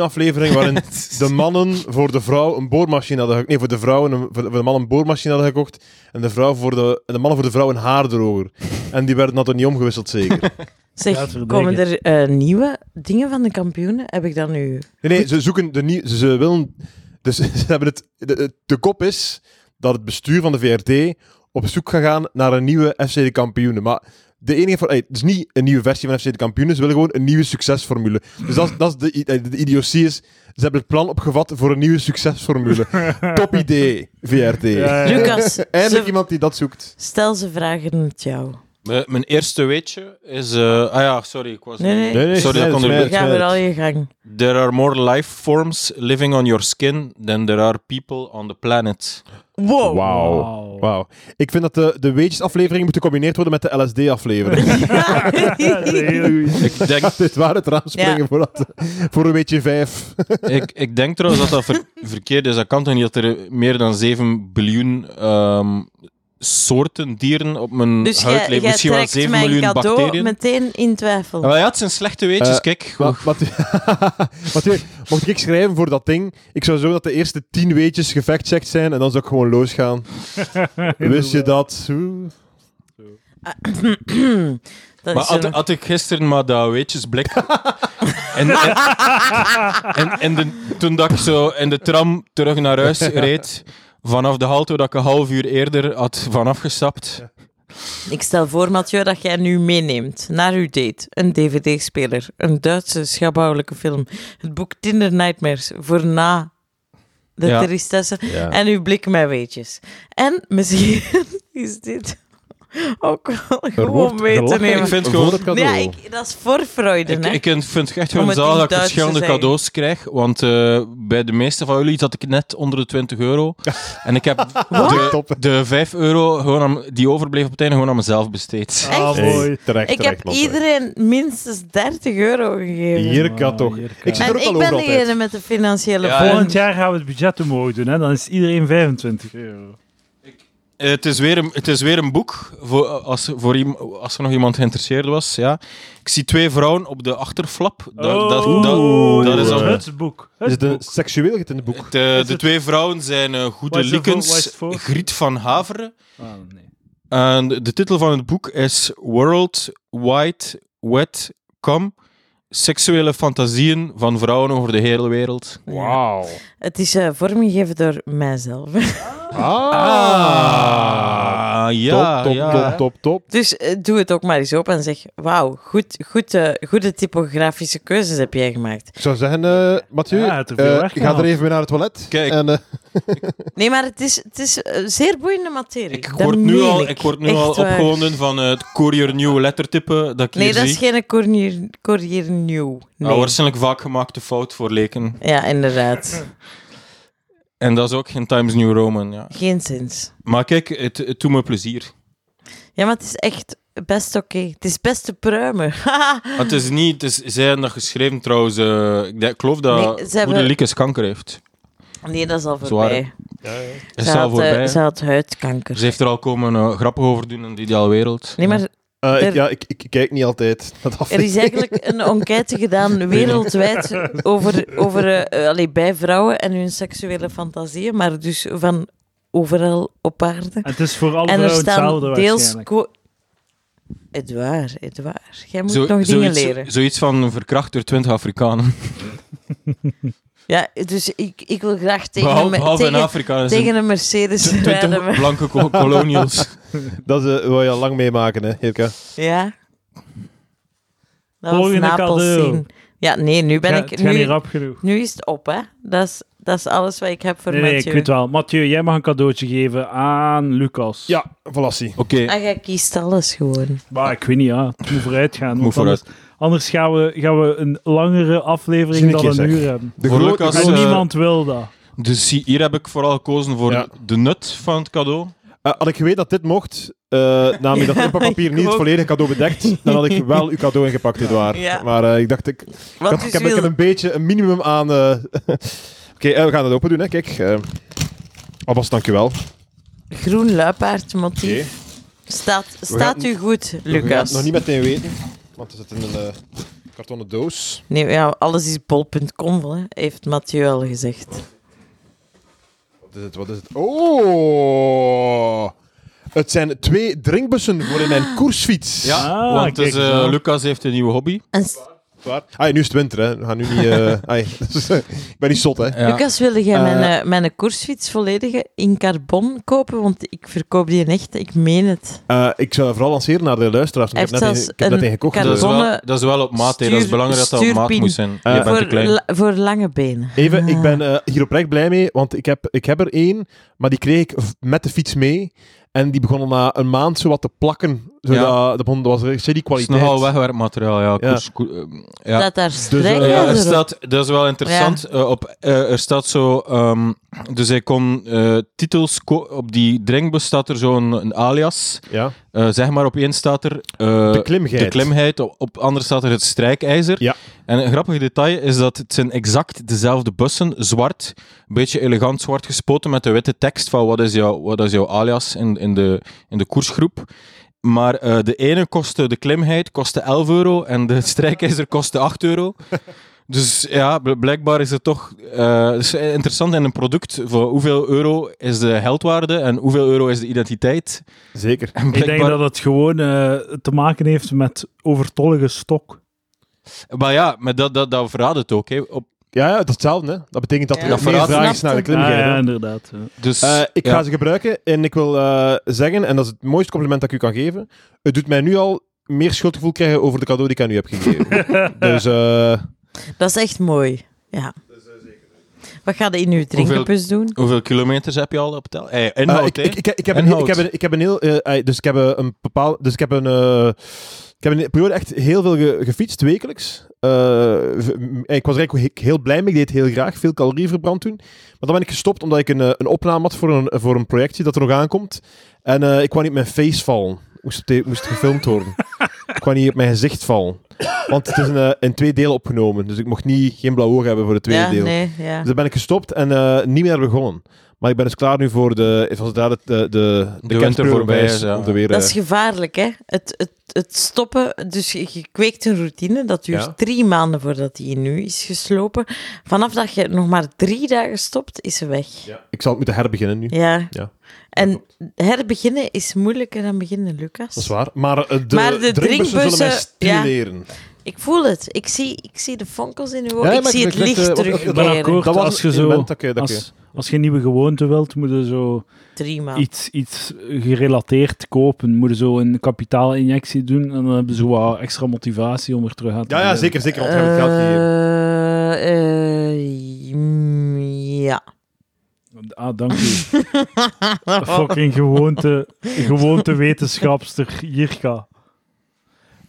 S1: <laughs>
S2: aflevering waarin de mannen voor de vrouw een boormachine hadden gekocht. Nee, voor de vrouwen een, voor de, voor de mannen een boormachine hadden gekocht. En de, vrouw voor de, en de mannen voor de vrouw een haardroger. En die werden dat niet omgewisseld, zeker.
S1: Ja,
S3: Zeg,
S1: verdedigen.
S3: komen er eh, nieuwe dingen van de kampioenen? Heb ik dat nu...
S2: Nee, nee, ze zoeken de nieuw... Ze, ze willen... Dus <laughs> ze hebben het... De, de- de kop is dat het bestuur van de VRT op zoek gaat gaan naar een nieuwe FC de Kampioenen. Maar de enige... voor- ey, het is niet een nieuwe versie van FC de Kampioenen. Ze willen gewoon een nieuwe succesformule. Dus dat, is- dat is de, i- ey, de idiotie is... Ze hebben het plan opgevat voor een nieuwe succesformule.
S1: <laughs>
S2: Top idee, VRT.
S4: Eh,
S1: Ja, ja.
S4: <laughs>
S3: Lucas,
S2: Eindelijk
S3: ze-
S2: iemand die dat zoekt.
S3: stel ze vragen het jou.
S4: M- Mijn eerste weetje is... eh, ah ja, sorry, ik was...
S3: Nee, nee.
S2: Nee, nee,
S4: Sorry,
S2: snijd
S4: dat kon
S2: het,
S4: er-
S2: snijd
S3: Ga
S2: het,
S3: weer al
S2: snijd het.
S3: je gang.
S4: There are more life forms living on your skin than there are people on the planet.
S3: Wow.
S2: Wauw. Wauw. Ik vind dat de, de weetjesaflevering moet gecombineerd worden met de
S3: <laughs>
S2: LSD-aflevering.
S1: Dat is een hele goeie.
S4: Ik
S2: <laughs>
S4: denk,
S2: Dit waar het raam springen
S3: Ja.
S2: voor, dat, voor een beetje vijf.
S4: ik, ik denk trouwens dat dat ver- verkeerd is. Dat kan toch niet dat er meer dan 7 biljoen ehm, soorten dieren op mijn
S3: <laughs> Dus
S4: huid
S3: jij,
S4: leven.
S3: jij
S4: Misschien wel
S3: trekt
S4: 7
S3: mijn
S4: miljoen
S3: cadeau
S4: bacteriën.
S3: meteen in twijfel.
S4: Ah, wel ja, het zijn slechte weetjes,
S2: Eh,
S4: kijk.
S2: Wat, wat, <laughs> Mathieu, mocht ik schrijven voor dat ding, ik zou zo dat de eerste tien weetjes gefactcheckt zijn en dan zou ik gewoon losgaan. Wist je dat? Oeh.
S3: Ah, <clears throat> dat
S4: Maar
S3: is eh,
S4: had,
S3: zo'n-
S4: had ik gisteren maar dat weetjesblik...
S3: <laughs>
S4: en, en, en, en de- toen dat ik zo in de tram terug naar huis reed, vanaf de halte dat ik een half uur eerder had vanaf gestapt...
S3: Ik stel voor, Mathieu, dat jij nu meeneemt naar uw date een DVD-speler, een Duitse schabouwelijke film, het boek Tinder Nightmares voor na de
S4: Ja.
S3: tristesse en uw blik met weetjes. En misschien <laughs> is dit ook wel gewoon
S2: wordt
S3: mee te
S2: gelachen.
S4: Ik
S3: nemen.
S4: vind
S2: Voor
S4: gewoon...
S2: het cadeau.
S3: Ja, ik, dat is voor Freuden,
S4: Ik,
S3: hè?
S4: ik vind het echt
S3: Om
S4: gewoon
S3: het
S4: zalig
S3: in
S4: dat ik
S3: Duits te
S4: verschillende
S3: zeggen.
S4: cadeaus krijg. Want eh, bij de meeste van jullie zat ik net onder de
S3: <laughs>
S4: 20 euro. en ik heb de,
S2: Top.
S4: de 5 euro gewoon aan, die overbleef op het einde gewoon aan mezelf besteed.
S1: Ah,
S3: Echt?
S1: mooi.
S2: Hey, terecht,
S3: Ik
S2: terecht,
S3: heb
S2: man, terecht.
S3: iedereen minstens 30 euro gegeven.
S2: Jirka toch.
S1: Ah, Jirka.
S2: Ik zit er
S3: En
S2: ook al
S3: ik
S2: over
S3: ben
S2: altijd.
S3: degene met de financiële
S4: Ja,
S3: vorm.
S1: Volgend jaar gaan we het budget omhoog doen, hè? dan is iedereen 25 euro.
S4: Eh, het, is weer een, het is weer een boek, voor, eh, als, voor, iem- als er nog iemand geïnteresseerd was. Ja. Ik zie twee vrouwen op de achterflap. Dat, dat, dat,
S1: Oeh,
S4: dat is
S1: het
S4: al...
S2: een-
S1: het boek. Het
S2: Is het een
S1: boek.
S2: seksueel in het boek?
S4: De,
S1: Is
S4: de
S1: het-
S4: twee vrouwen zijn eh,
S1: Waar
S4: Goede
S1: is het voor- waar is
S4: Likens,
S1: het voor?
S4: Griet van Haveren.
S1: Ah, nee.
S4: En de de titel van het boek is World Wide Wet Come. Seksuele fantasieën van vrouwen over de hele wereld.
S2: Wauw.
S3: Het is eh, vormgegeven door mijzelf.
S2: Ah.
S4: ja,
S2: top, top,
S4: ja.
S2: top, top, top.
S3: Dus eh, doe het ook maar eens op en zeg: Wauw, goed, goed, eh, goede typografische keuzes heb jij gemaakt.
S2: Ik zou zeggen, eh Mathieu,
S1: Ja, hij heeft er veel
S2: eh,
S1: werk
S2: ga er
S1: gehad.
S2: even mee naar het toilet.
S4: Kijk.
S2: En, eh,
S3: Nee, maar het is, het is eh, zeer boeiende materie.
S4: Ik
S3: Dat
S4: word nu
S3: meen
S4: al, ik word nu
S3: Echt
S4: al
S3: waar.
S4: opgewonden van eh, het courier nieuwe lettertype dat ik
S3: Nee,
S4: hier
S3: dat
S4: zie.
S3: is geen courier, courier nieuw.
S4: Ah,
S3: Nee.
S4: waarschijnlijk vaak gemaakte fout voor leken.
S3: Ja, inderdaad.
S4: En dat is ook geen Times New Roman. Ja.
S3: Geen zins.
S4: Maar kijk, het, het doet me plezier.
S3: Ja, maar het is echt best oké. Het is best te pruimen. <laughs> Haha.
S4: Maar het is niet, het is, zij hebben dat geschreven trouwens. eh, ik, denk- ik geloof dat
S3: Nee, ze
S4: Goede
S3: hebben-
S4: Liekes kanker heeft.
S3: nee, dat is al voorbij.
S4: Is
S3: Ze
S4: al
S3: had, eh,
S4: voorbij.
S3: ze had huidkanker.
S4: Ze heeft er al komen eh, grappen over doen in de ideale wereld.
S3: Nee, maar
S2: eh, ik-
S3: Er-
S2: ja, ik, ik, ik kijk niet altijd. Dat
S3: er is eigenlijk een
S1: <laughs>
S3: enquête gedaan wereldwijd over, over eh, eh, allee, bij vrouwen en hun seksuele fantasieën, maar dus van overal op aarde.
S1: En het is voor alle
S3: en er
S1: vrouwen
S3: staan
S1: hetzelfde
S3: deels...
S1: waarschijnlijk.
S3: co- Edouard, Edouard, jij moet
S4: Zo-
S3: nog dingen
S4: zoiets,
S3: leren.
S4: zoiets van een verkracht door 20 Afrikanen.
S3: Ja, dus ik, ik wil graag tegen,
S4: Behalve,
S3: me-
S4: behalve in
S3: tegen,
S4: Afrika. zijn
S3: tegen een Mercedes rijden.
S4: 20
S3: maar-
S4: blanke co- colonials.
S3: <laughs>
S2: Dat is, eh, wil je al lang meemaken, hè, Hilke?
S3: Ja. Dat was
S1: Volgende
S3: Napels
S1: cadeau.
S3: zien. Ja, nee, nu ben
S1: Ja,
S3: ik...
S1: het gaat niet
S3: Nu,
S1: rap genoeg.
S3: nu is het op, hè. Dat is, dat is alles wat ik heb voor
S1: Nee, nee, ik
S3: Mathieu.
S1: weet wel. Mathieu, jij mag een cadeautje geven aan Lucas.
S2: Ja, Valassi.
S4: Oké,
S3: Ah, jij kiest alles gewoon.
S1: Maar ik weet niet, ja. Het moet vooruit gaan.
S4: Moet
S1: want
S4: vooruit.
S1: Anders, anders gaan, we, gaan we een langere aflevering
S2: Zie een
S1: dan
S2: keer,
S1: een
S2: zeg.
S1: uur hebben.
S2: De
S4: Voor
S2: grote- Ah,
S4: Lucas,
S2: grote-
S1: en
S4: eh,
S1: niemand wil dat.
S4: dus zie- hier heb ik vooral gekozen voor
S2: Ja.
S4: de nut van het cadeau.
S2: Eh, had ik geweten dat dit mocht,
S4: <laughs>
S2: eh namelijk dat inpakpapier niet het
S3: ook.
S2: volledige cadeau bedekt, dan had
S4: <laughs>
S2: ik wel uw cadeau ingepakt, Edouard.
S3: Ja.
S2: Maar eh, ik dacht, ik, ik,
S3: Wat
S2: had-
S3: dus
S2: ik, heb, ik
S3: wil-
S2: heb een beetje een minimum aan... eh, <laughs> Oké, eh, we gaan het open doen, hè. Kijk. eh Abbas, dankjewel.
S3: Groen luipaardmotief. Staat, staat
S2: gaan-
S3: u goed,
S2: We gaan het
S3: Lucas?
S2: nog niet meteen weten, want het zit in een eh, kartonnen doos.
S3: Nee, ja, alles is bol.com, wel, hè, heeft Mathieu al gezegd.
S2: Wat is het? Wat is het? Oh! Het zijn twee drinkbussen voor in
S3: <gasps>
S2: mijn koersfiets.
S4: Ja,
S1: Ah,
S4: want dus,
S1: kijk
S4: eh,
S1: zo.
S4: Lucas heeft een nieuwe hobby.
S3: En s-
S2: Waar? Ah, nu is het winter, hè. We gaan nu niet... <laughs> eh, ai, ik ben niet zot, hè.
S4: Ja.
S3: Lucas, wilde jij mijn,
S2: Eh.
S3: eh, mijn koersfiets volledig in carbon kopen? Want ik verkoop die in echt, ik meen het.
S2: Eh, ik zou dat vooral lanceren naar de luisteraars. want Ik
S3: Hij
S2: heb net
S3: heeft
S2: een, ik heb
S3: zelfs
S2: net
S3: een
S2: een gekocht.
S4: dat, is
S2: dus.
S4: wel,
S3: Carbonne
S4: dat is wel op maat. hè. Dat is
S3: stuur-
S4: belangrijk dat dat op maat
S3: stuurpien.
S4: moet zijn.
S2: Eh,
S4: Je bent te
S3: Voor,
S4: klein.
S3: la- voor lange benen.
S2: Even,
S3: Ah.
S2: ik ben eh, hier oprecht blij mee, want ik heb, ik heb er één, maar die kreeg ik v- met de fiets mee. En die begon al na een maand zo wat te plakken. Zodat, dat, begon, dat was er die
S4: Het is
S2: kwaliteit.
S4: nogal wegwerkmateriaal, ja.
S2: Ja.
S4: Koers, koe- eh, ja.
S3: Dat daar
S2: eh,
S3: strijken
S4: Eh,
S2: Ja,
S4: er
S3: erop.
S4: staat, dat is wel interessant. eh, op, eh, er staat zo. ehm, dus hij kon eh, titels. ko- op die drinkbus staat er zo'n een alias.
S2: Ja.
S4: Eh, zeg maar, op één staat er. eh,
S2: De klimgeit.
S4: de klimheid. Op, op andere staat er het strijkijzer.
S2: Ja.
S4: En een grappig detail is dat het zijn exact dezelfde bussen. Zwart. Een beetje elegant zwart gespoten met de witte tekst van wat is jouw, wat is jouw alias in, in, de, in de koersgroep. Maar eh, de ene kostte, de klimheid kostte 11 euro en de strijkijzer kostte
S1: <laughs>
S4: 8 euro. Dus ja, bl- blijkbaar is het toch eh, het is interessant in een product. Voor hoeveel euro is de heldwaarde en hoeveel euro is de identiteit?
S2: Zeker.
S4: En
S1: Ik denk
S4: blijkbaar,
S1: dat het gewoon eh, te maken heeft met overtollige stok.
S4: Maar ja, maar dat, dat, dat verraadt het ook. Hè. Op,
S2: Ja, ja, dat is hetzelfde. Hè. Dat betekent dat
S3: Ja.
S2: er
S4: Dat
S2: meer
S4: verraadt-
S2: vraag is naar de
S1: Ah,
S2: klimgeit.
S1: ja,
S2: hè.
S1: inderdaad. ja.
S4: dus,
S2: Eh, ik
S4: ja.
S2: ga ze gebruiken en ik wil eh, zeggen, en dat is het mooiste compliment dat ik u kan geven, het doet mij nu al meer schuldgevoel krijgen over de cadeau die ik aan u heb gegeven. dus eh,
S3: Dat is echt mooi. Ja. Wat ga je in uw drinkenbus doen?
S4: Hoeveel kilometers heb je al op tel? Eh, inhoud,
S2: Eh, ik,
S4: hè.
S2: ik, ik, ik heb
S4: En
S2: een, heel-
S4: hout.
S2: ik, heb een, ik heb een heel... eh, eh, dus ik heb eh, een bepaal, Dus ik heb een... eh, ik heb een periode echt heel veel ge- gefietst, wekelijks. Eh, v- m- ik was er eigenlijk heel blij mee. Ik deed het heel graag. Veel calorieën verbrand toen. Maar dan ben ik gestopt omdat ik een, eh, een opname had voor een, voor een projectje dat er nog aankomt. En eh, ik kwam niet op mijn face vallen. Moest, op de- moest gefilmd
S4: <laughs>
S2: worden. ik kwam niet op mijn gezicht vallen. Want het is een, eh, in twee delen opgenomen. Dus ik mocht niet, geen blauw oog hebben voor het tweede
S3: ja,
S2: deel.
S3: nee, ja.
S2: Dus daar ben ik gestopt en eh, niet meer begonnen. Maar ik ben dus klaar nu voor de... Het was daar de, de, de, de
S4: winter
S2: kerstperiode
S4: voorbij
S2: om
S4: is, ja.
S2: om te weer,
S3: Dat
S2: eh,
S3: is gevaarlijk, hè? Het, het, het stoppen. Dus je, je kweekt een routine. Dat duurt
S2: Ja.
S3: drie maanden voordat die nu is geslopen. Vanaf dat je nog maar drie dagen stopt, is ze weg. Ja.
S2: Ik zal het moeten herbeginnen nu. Ja,
S3: En herbeginnen is moeilijker dan beginnen, Lucas.
S2: Dat is waar. Maar eh, de,
S3: Maar de
S2: drinkbussen zullen mij
S3: drinkbussen, ja.
S2: stimuleren.
S3: Ik voel het. Ik zie, ik zie de fonkels in uw
S2: Ja,
S3: ogen. ik
S2: maar
S3: zie
S2: ik-
S3: het
S2: ik-
S3: licht
S2: eh, wat-
S1: Ik ben
S3: terugkeren.
S1: akkoord
S2: Dat was
S1: als je
S2: een
S1: zo...
S2: element dat je- dat je-
S1: als, als je een nieuwe gewoonte wilt, moet je zo
S3: Drie
S2: Ah.
S3: maanden.
S1: iets, iets gerelateerd kopen. Moet je zo een kapitaalinjectie doen. En dan hebben ze wat extra motivatie om er terug aan te
S2: Ja, ja,
S1: beginnen.
S2: zeker, zeker. Want we hebben het geld gegeven.
S3: Eh, eh, mm, ja.
S1: Ah, dank u. Fucking gewoonte, gewoonte wetenschapster Jirka.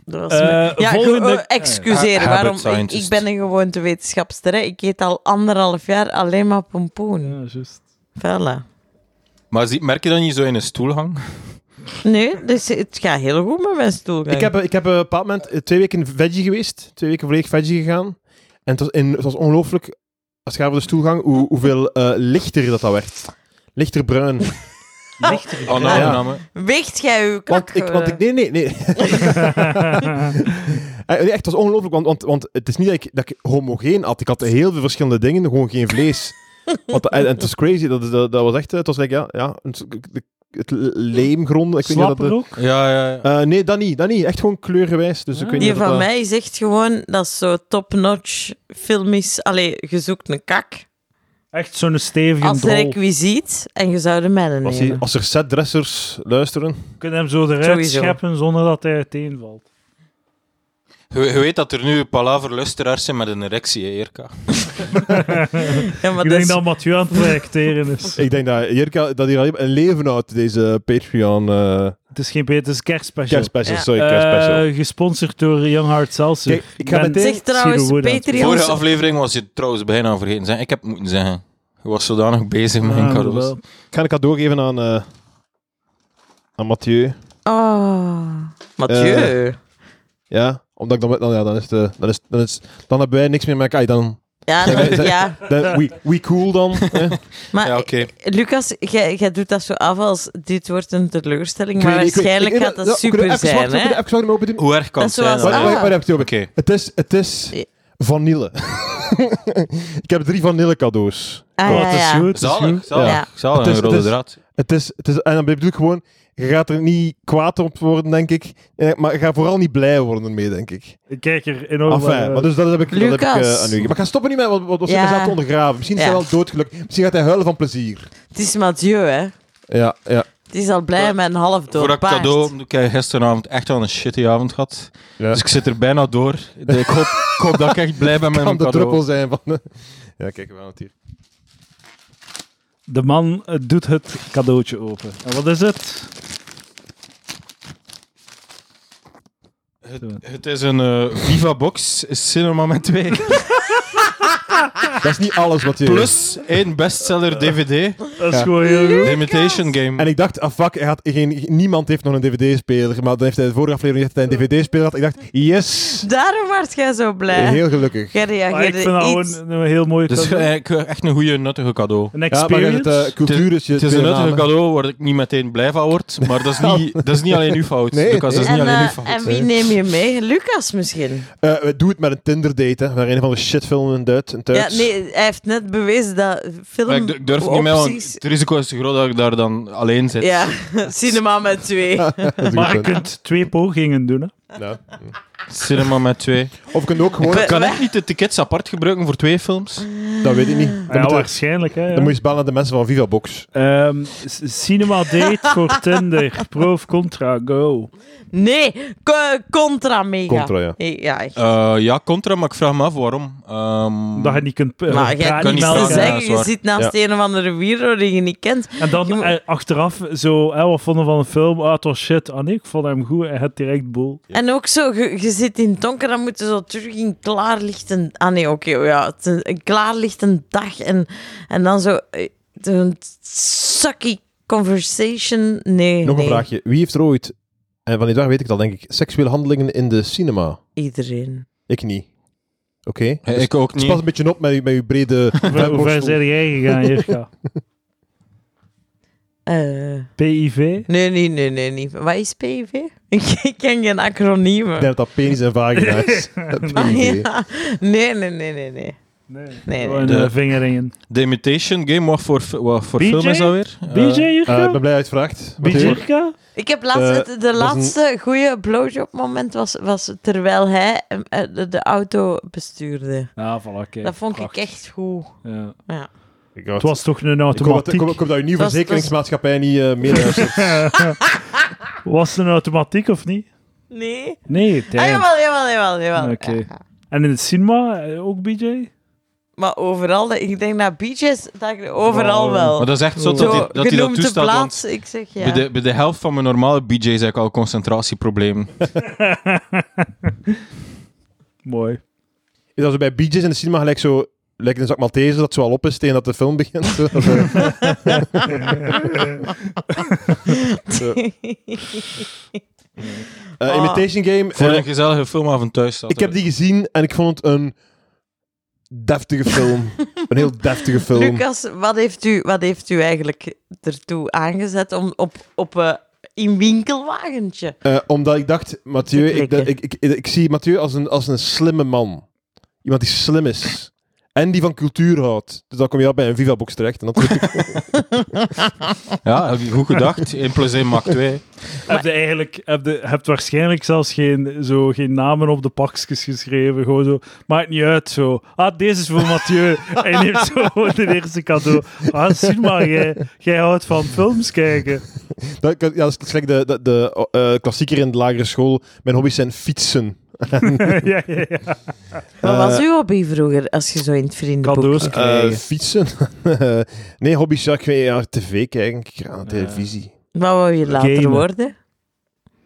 S3: Dat
S1: Eh,
S3: was mijn- ja,
S1: volgende-
S3: ge- eh, excuseer,
S4: Ha-
S3: waarom?
S4: habit
S3: Ik, ik
S4: scientist.
S3: ben een gewoontewetenschapster. Hè. Ik eet al anderhalf jaar alleen maar pompoen.
S1: Ja, juist.
S3: Voilà.
S4: Maar zie, merk je dat niet zo in een
S2: <laughs>
S4: stoelhang?
S3: Nee, dus het gaat heel goed met mijn stoelgang.
S2: Ik heb, eh, ik heb eh, op een bepaald moment eh, twee weken veggie geweest. Twee weken volledig veggie gegaan. En het was, in, het was ongelooflijk, als het gaat over de stoelgang, hoe, hoeveel eh, lichter dat dat werd. Lichter bruin.
S1: Lichter.
S4: Onaangename.
S3: Weegt jij uw kak?
S2: Want ik, want ik, nee, nee, nee.
S3: <laughs>
S2: Eh, nee, echt, het was ongelooflijk, want, want, want het is niet dat ik, dat ik homogeen had. Ik had heel veel verschillende dingen, gewoon geen vlees. want, eh, en, en het was crazy, dat, dat, dat was echt, eh, het was like, ja, ja, het, het leemgrond. Ik weet niet of dat,
S1: Slapper ook?
S4: Ja, ja, ja.
S2: eh, nee, dat niet, dat niet. Echt gewoon kleurgewijs. Dus ik
S1: Ah.
S2: weet
S3: Die
S2: niet of
S3: van
S2: dat-
S3: mij zegt gewoon dat is zo top-notch filmisch. Allee, je zoekt een kak
S1: Echt zo'n stevige
S3: als
S1: drol.
S3: requisiet en je zou de mijne
S2: Als, die,
S3: nemen.
S2: als er setdressers luisteren.
S1: Je kunt hem zo eruit
S3: Sowieso.
S1: scheppen zonder dat hij uiteenvalt.
S4: Je, je weet dat er nu palaverlusteraars zijn met een erectie, hè, Jirka.
S3: Ja, maar
S1: ik
S3: dat
S1: denk
S3: is-
S1: dat Mathieu aan het projecteren
S3: <laughs>
S1: is.
S2: Ik denk dat Jirka dat hier alleen maar een leven houdt, deze Patreon eh
S1: het is geen Peter, het is kerstspecial.
S2: kerstspecial.
S3: Ja.
S2: Sorry, kerstspecial.
S1: Eh, gesponsord door Young Heart Seltzer.
S2: Kijk, ik ga
S1: ben
S2: meteen-
S3: Zeg trouwens,
S1: Zero Wood aan het
S3: Patreon-
S4: Vorige
S3: onze-
S4: aflevering was je trouwens bijna vergeten. Zeg, ik heb het moeten zeggen. Je was zodanig bezig met mijn
S1: Ah,
S4: cadeaus.
S1: wel.
S2: Ik ga een cadeau geven aan, eh, aan Mathieu.
S3: Oh, Mathieu.
S2: Eh, Ja, omdat ik dan... dan ja, dan, is de, dan, is, dan, is, dan hebben wij niks meer met elkaar. Dan,
S3: ja,
S2: Zeg,
S3: dan-
S2: zeg-
S3: ja,
S2: dan, we, we cool dan.
S3: <laughs>
S2: hè.
S3: maar
S4: Ja, oké.
S3: Lucas, jij, jij doet dat zo af als dit wordt een teleurstelling,
S2: Ik
S3: maar
S2: weet niet, ik weet-
S3: waarschijnlijk
S2: ik- ik-
S3: gaat dat
S2: ja, kunnen we
S3: super
S2: even
S3: zijn,
S2: wachten, kunnen we
S3: hè?
S2: even wachten om open te doen?
S4: Hoe erg kan
S3: Dat
S4: het
S3: is zoals
S4: zijn?
S3: Ah.
S2: Waar, waar, waar heb je die open?
S4: Oké.
S2: Het is, het is
S3: Ja.
S2: vanille. <laughs> ik heb drie vanille cadeaus.
S3: Ah,
S1: Oh,
S3: ja,
S1: het is
S3: ja.
S1: goed, het is
S4: Zalig,
S1: goed.
S4: zalig.
S3: Ja.
S4: Zalig,
S2: Het is-
S4: een rode
S2: het is-
S4: draad.
S2: Het is, het is, en dan bedoel ik gewoon, je gaat er niet kwaad op worden, denk ik. Eh, Maar je gaat vooral niet blij worden ermee, denk ik.
S1: Ik kijk er enorm
S2: Enfin,
S1: naar uit.
S2: maar dus dat heb ik, dat heb ik eh,
S3: Lucas.
S2: aan u gegeven. Maar ga stoppen niet met wat, wat, wat
S3: Ja.
S2: mezelf te ondergraven. Misschien is
S3: Ja.
S2: hij wel doodgelukkig. Misschien gaat hij huilen van plezier.
S3: Het is Mathieu, hè?
S2: Ja, ja.
S3: Het is al blij met een half
S4: Voor
S3: dood
S4: dat
S3: paard.
S4: cadeau, ik heb gisteravond echt al een shitty avond gehad.
S2: ja.
S4: Dus ik zit er bijna door. De- Ik hoop, ik hoop dat ik echt
S2: <laughs>
S4: blij ben met
S2: kan
S4: mijn
S2: de druppel
S4: cadeau.
S2: zijn van... <laughs> de- Ja, kijk, we gaan het hier.
S1: De man eh, doet het cadeautje open. En wat is het?
S4: Het, het is een eh, Viva Box Cinema met twee.
S2: Dat is niet alles wat je...
S4: Plus één bestseller DVD.
S1: Dat is
S2: Ja.
S1: gewoon heel goed.
S4: The Imitation Game.
S2: En ik dacht, ah fuck, hij had geen, niemand heeft nog een dvd-speler. Maar dan heeft hij de vorige aflevering gezegd dat hij een dvd-speler had. Ik dacht, yes!
S3: Daarom werd jij zo blij.
S2: Heel gelukkig.
S3: Jij
S1: Maar Ah, ik
S3: reageerde
S1: vind dat
S3: iets.
S1: gewoon een heel mooi
S4: Het is
S1: cadeau.
S4: eigenlijk echt een goede, nuttige cadeau.
S1: Een
S2: Dus Ja, maar het,
S1: experience.
S2: eh cultuur is je
S4: Het is een
S2: tweede
S4: nuttige
S2: naam.
S4: cadeau waar ik niet meteen blij van word. Maar dat is niet, dat is niet alleen uw fout.
S2: Nee,
S4: Lucas, dat is
S3: En,
S4: niet alleen uw
S3: eh,
S4: fout.
S3: en wie neem je mee? Lucas misschien?
S2: Eh, doe het met een Tinder-date, hè. Waar een van de shitfilmen in Duits. In
S3: Ja,
S2: Duits.
S3: nee, hij heeft net bewezen dat film
S4: Maar ik d- durf niet mee, want
S3: opties...
S4: het risico is te groot dat ik daar dan alleen zit.
S3: Ja, <laughs> cinema met
S2: <laughs>
S3: twee.
S2: Dat is een
S1: Maar je
S2: goed punt.
S1: kunt twee pogingen doen. Hè.
S2: Ja.
S4: Cinema met twee.
S2: Of je kunt ook gewoon...
S3: Ik
S4: Kan ik niet de tickets apart gebruiken voor twee films?
S2: Dat weet ik niet. Dan,
S1: Ja,
S2: moet, je,
S1: waarschijnlijk. Hè, ja.
S2: dan moet je eens bellen naar de mensen van Viva Box.
S1: Ehm, s- cinema date
S3: <laughs>
S1: voor Tinder. Pro of contra, go.
S3: Nee, co- contra mega.
S2: Contra, ja.
S3: Ja, echt.
S4: Eh, ja, contra, maar ik vraag me af waarom. Ehm,
S2: Mm.
S1: Dat je niet kunt... eh,
S3: maar
S1: praten,
S3: jij kan niet
S4: kan niet
S3: te
S1: melden.
S4: vragen,
S3: zeggen,
S4: ja,
S3: je
S4: dat is
S3: zit naast een of andere wieler die je niet kent.
S1: En dan
S3: Je moet-
S1: eh, achteraf zo, hè, wat vonden we van een film? Ah, het was shit. Ah nee, ik vond hem goed. Hij had direct boel.
S3: En ook zo, je, je zit in het donker, dan moet je zo terug in klaarlichtend... Ah nee, oké, ja, het is een, een klaarlichtend dag. En, en dan zo eh, een sucky conversation. Nee,
S2: Nog
S3: nee.
S2: een vraagje. Wie heeft er ooit, en van die dag weet ik het al denk ik, seksuele handelingen in de cinema?
S3: Iedereen.
S2: Ik niet. Oké.
S4: eh,
S2: Dus
S4: ik ook
S2: pas
S4: niet.
S2: een beetje op met, uw- met uw brede
S1: Hoe ver
S2: webborstel.
S1: zijn jij gegaan, Jirka?
S3: Eh,
S1: PIV?
S3: nee, nee, nee, nee, nee. Wat is PIV? <laughs> Ik ken geen
S2: Ik
S3: acroniemen.
S2: denk dat dat penis en vagina is.
S3: Ah,
S2: idee.
S3: ja. Nee, nee, nee, nee, nee.
S1: Nee.
S3: nee.
S1: Gewoon
S4: De-
S1: de vinger Oh, in.
S4: De Imitation Game, wat voor, fi- wat voor
S1: BJ?
S4: film is dat weer?
S1: BJ
S4: Eh,
S2: Eh, ik ben
S1: Jirka?
S2: blij dat je het vraagt.
S1: BJ
S2: Mathieu.
S1: Jirka?
S3: Ik heb laatst,
S2: Eh,
S3: het- de,
S2: dat is
S3: laatste goede blowjob moment was, was terwijl hij eh, eh, de, de auto bestuurde.
S1: Ja, voilà, oké.
S3: dat vond ik
S1: Prachtig.
S3: echt goed.
S1: Ja.
S2: Ik
S1: Het was toch een
S2: Ik hoop, dat, ik,
S1: automatiek?
S2: hoop, ik hoop dat je nieuwe
S3: Dat is-
S2: verzekeringsmaatschappij niet eh meeluistert.
S1: Was het een automatiek of niet?
S3: Nee?
S1: Nee,
S3: Ah,
S1: tijd.
S3: jawel, jawel, jawel. jawel.
S1: Oké.
S3: Ja.
S1: En in het cinema eh, ook <laughs> BJ?
S3: Maar overal, dat- ik denk naar beaches, dat ik overal
S1: Oh,
S3: wel.
S4: Maar dat is echt
S3: Zo,
S4: zo dat hij dat, hij dat
S3: genoemd de
S4: toestaat. want
S3: plaats, ik zeg ja.
S4: bij, de, bij de helft van mijn normale BJ's heb ik al concentratieproblemen.
S1: Mooi.
S2: Is dat zo bij Bee Gees in de cinema gelijk zo... Lijkt een zak Malteser dat zo al op is tegen dat de film begint. Zo, dat, eh, eh,
S3: <laughs>
S4: eh,
S3: Ah.
S2: Imitation Game.
S4: Voor
S2: eh,
S4: een gezellige filmavond thuis staat
S2: ik heb
S4: er.
S2: die gezien en ik vond het een deftige film. een heel deftige film.
S3: Lucas, wat heeft, u, wat heeft u eigenlijk ertoe aangezet om op, op eh, in winkelwagentje?
S2: Eh, omdat ik dacht, Mathieu,
S3: Te
S2: ik,
S3: klikken.
S2: ik, ik, ik zie Mathieu als een, als een slimme man. Iemand die slim is. En die van cultuur houdt. Dus dan kom je al bij een Viva-box terecht. En dat is natuurlijk-
S4: Ja, heb je goed
S2: <laughs>
S4: gedacht. 1 plus 1 maakt 2.
S1: Heb je eigenlijk, heb je hebt waarschijnlijk zelfs geen, zo, geen namen op de pakjes geschreven. Gewoon zo, maakt niet uit zo. Ah, deze is voor Mathieu. <laughs> en je neemt zo gewoon de eerste cadeau. Ah, zie maar, jij, jij houdt van films kijken. <laughs>
S2: dat, ja, dat is slechts de, de, de eh, klassieker in de lagere school. Mijn hobby's zijn fietsen.
S1: ja, ja, ja.
S3: Wat
S2: Eh,
S3: was uw hobby vroeger, als je zo in het vriendenboek...
S1: Cadeaus
S2: Eh,
S1: krijgen.
S2: fietsen? <laughs> nee, hobby's, ja, ik weet ja, tv kijken, ik kijk aan de
S1: Ja.
S2: televisie.
S3: Wat wou je later
S1: Gamen.
S3: worden?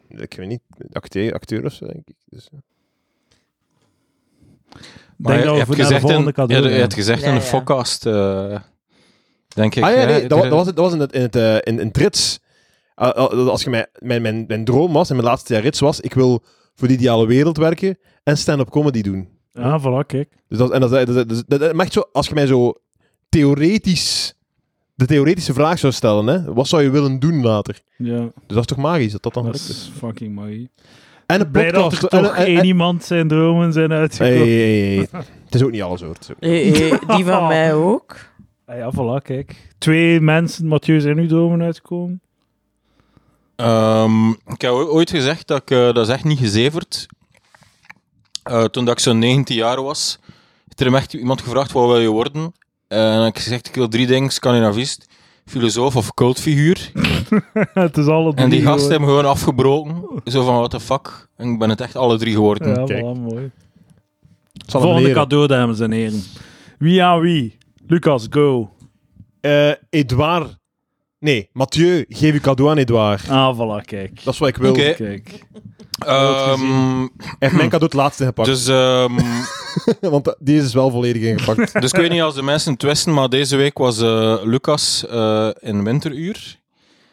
S2: Ik weet niet, acteur, acteur of zo, denk ik. Dus, eh.
S4: Maar
S1: Denk
S4: je,
S1: dat we voor naar de
S4: je hebt gezegd
S1: volgende
S4: in, je,
S1: cadeau
S4: je
S1: gaan.
S4: hebt gezegd
S3: Ja,
S4: in een
S3: ja.
S4: podcast, eh, denk ik.
S2: ah ja,
S4: hè,
S2: nee, dat, wa-
S4: er-
S2: dat was, het- dat was in het, in het, eh, in, in het rits. Ah, ah, dat als je mijn, mijn, mijn, mijn droom was, en mijn laatste jaar rits was, ik wil voor de ideale wereld werken en stand-up comedy doen.
S1: Ja, voilà, kijk.
S2: Dus dat, en dat, dat, dat, dat- dat- maar echt zo, als je mij zo theoretisch, de theoretische vraag zou stellen, hè, wat zou je willen doen later?
S1: Ja,
S2: Dus dat is toch magisch, dat dat dan
S1: dat
S2: gelukt is.
S1: is fucking mooi.
S2: En een
S1: Blij dat
S2: podcast.
S1: er
S4: eh,
S2: en-
S1: toch
S2: en- en-
S1: één iemand zijn dromen zijn
S2: Hey,
S1: uitgekomen.
S2: hey, hey, hey. Het is ook niet alles hoor. Het is ook-
S3: Eh, eh,
S1: <laughs>
S3: die van mij ook.
S1: Ah ja, voilà, kijk. Twee mensen, Mathieu, zijn nu dromen uitgekomen. <laughs>
S4: Ehm, ik heb oo- ooit gezegd dat ik, eh, dat is echt niet gezeverd. Eh, toen dat ik zo'n 19 jaar was, heeft er me echt iemand gevraagd wat wil je worden. En ik heb gezegd, ik wil drie dingen, Scandinavist, filosoof of cultfiguur.
S1: het is alle drie.
S4: En die gasten
S1: hoor.
S4: hebben gewoon afgebroken. Zo van, what the fuck. En ik ben het echt alle drie geworden.
S1: Ja,
S2: Kijk.
S1: voilà, mooi.
S2: het zal hem
S1: Volgende
S2: leren.
S1: cadeau, dames en heren. Wie aan wie? Lucas, go.
S2: Eh, Edouard. Nee, Mathieu, geef je cadeau aan Edouard.
S1: Ah, voilà, kijk.
S2: Dat is wat ik wil.
S4: Oké.
S2: Hij
S1: Kijk.
S4: Ehm,
S2: heeft mijn cadeau het laatste gepakt.
S4: dus, ehm, <laughs>
S2: <laughs> Want deze is dus wel volledig
S1: <laughs>
S2: ingepakt.
S4: dus ik weet niet als de mensen het wisten, maar deze week was eh, Lucas eh, in winteruur.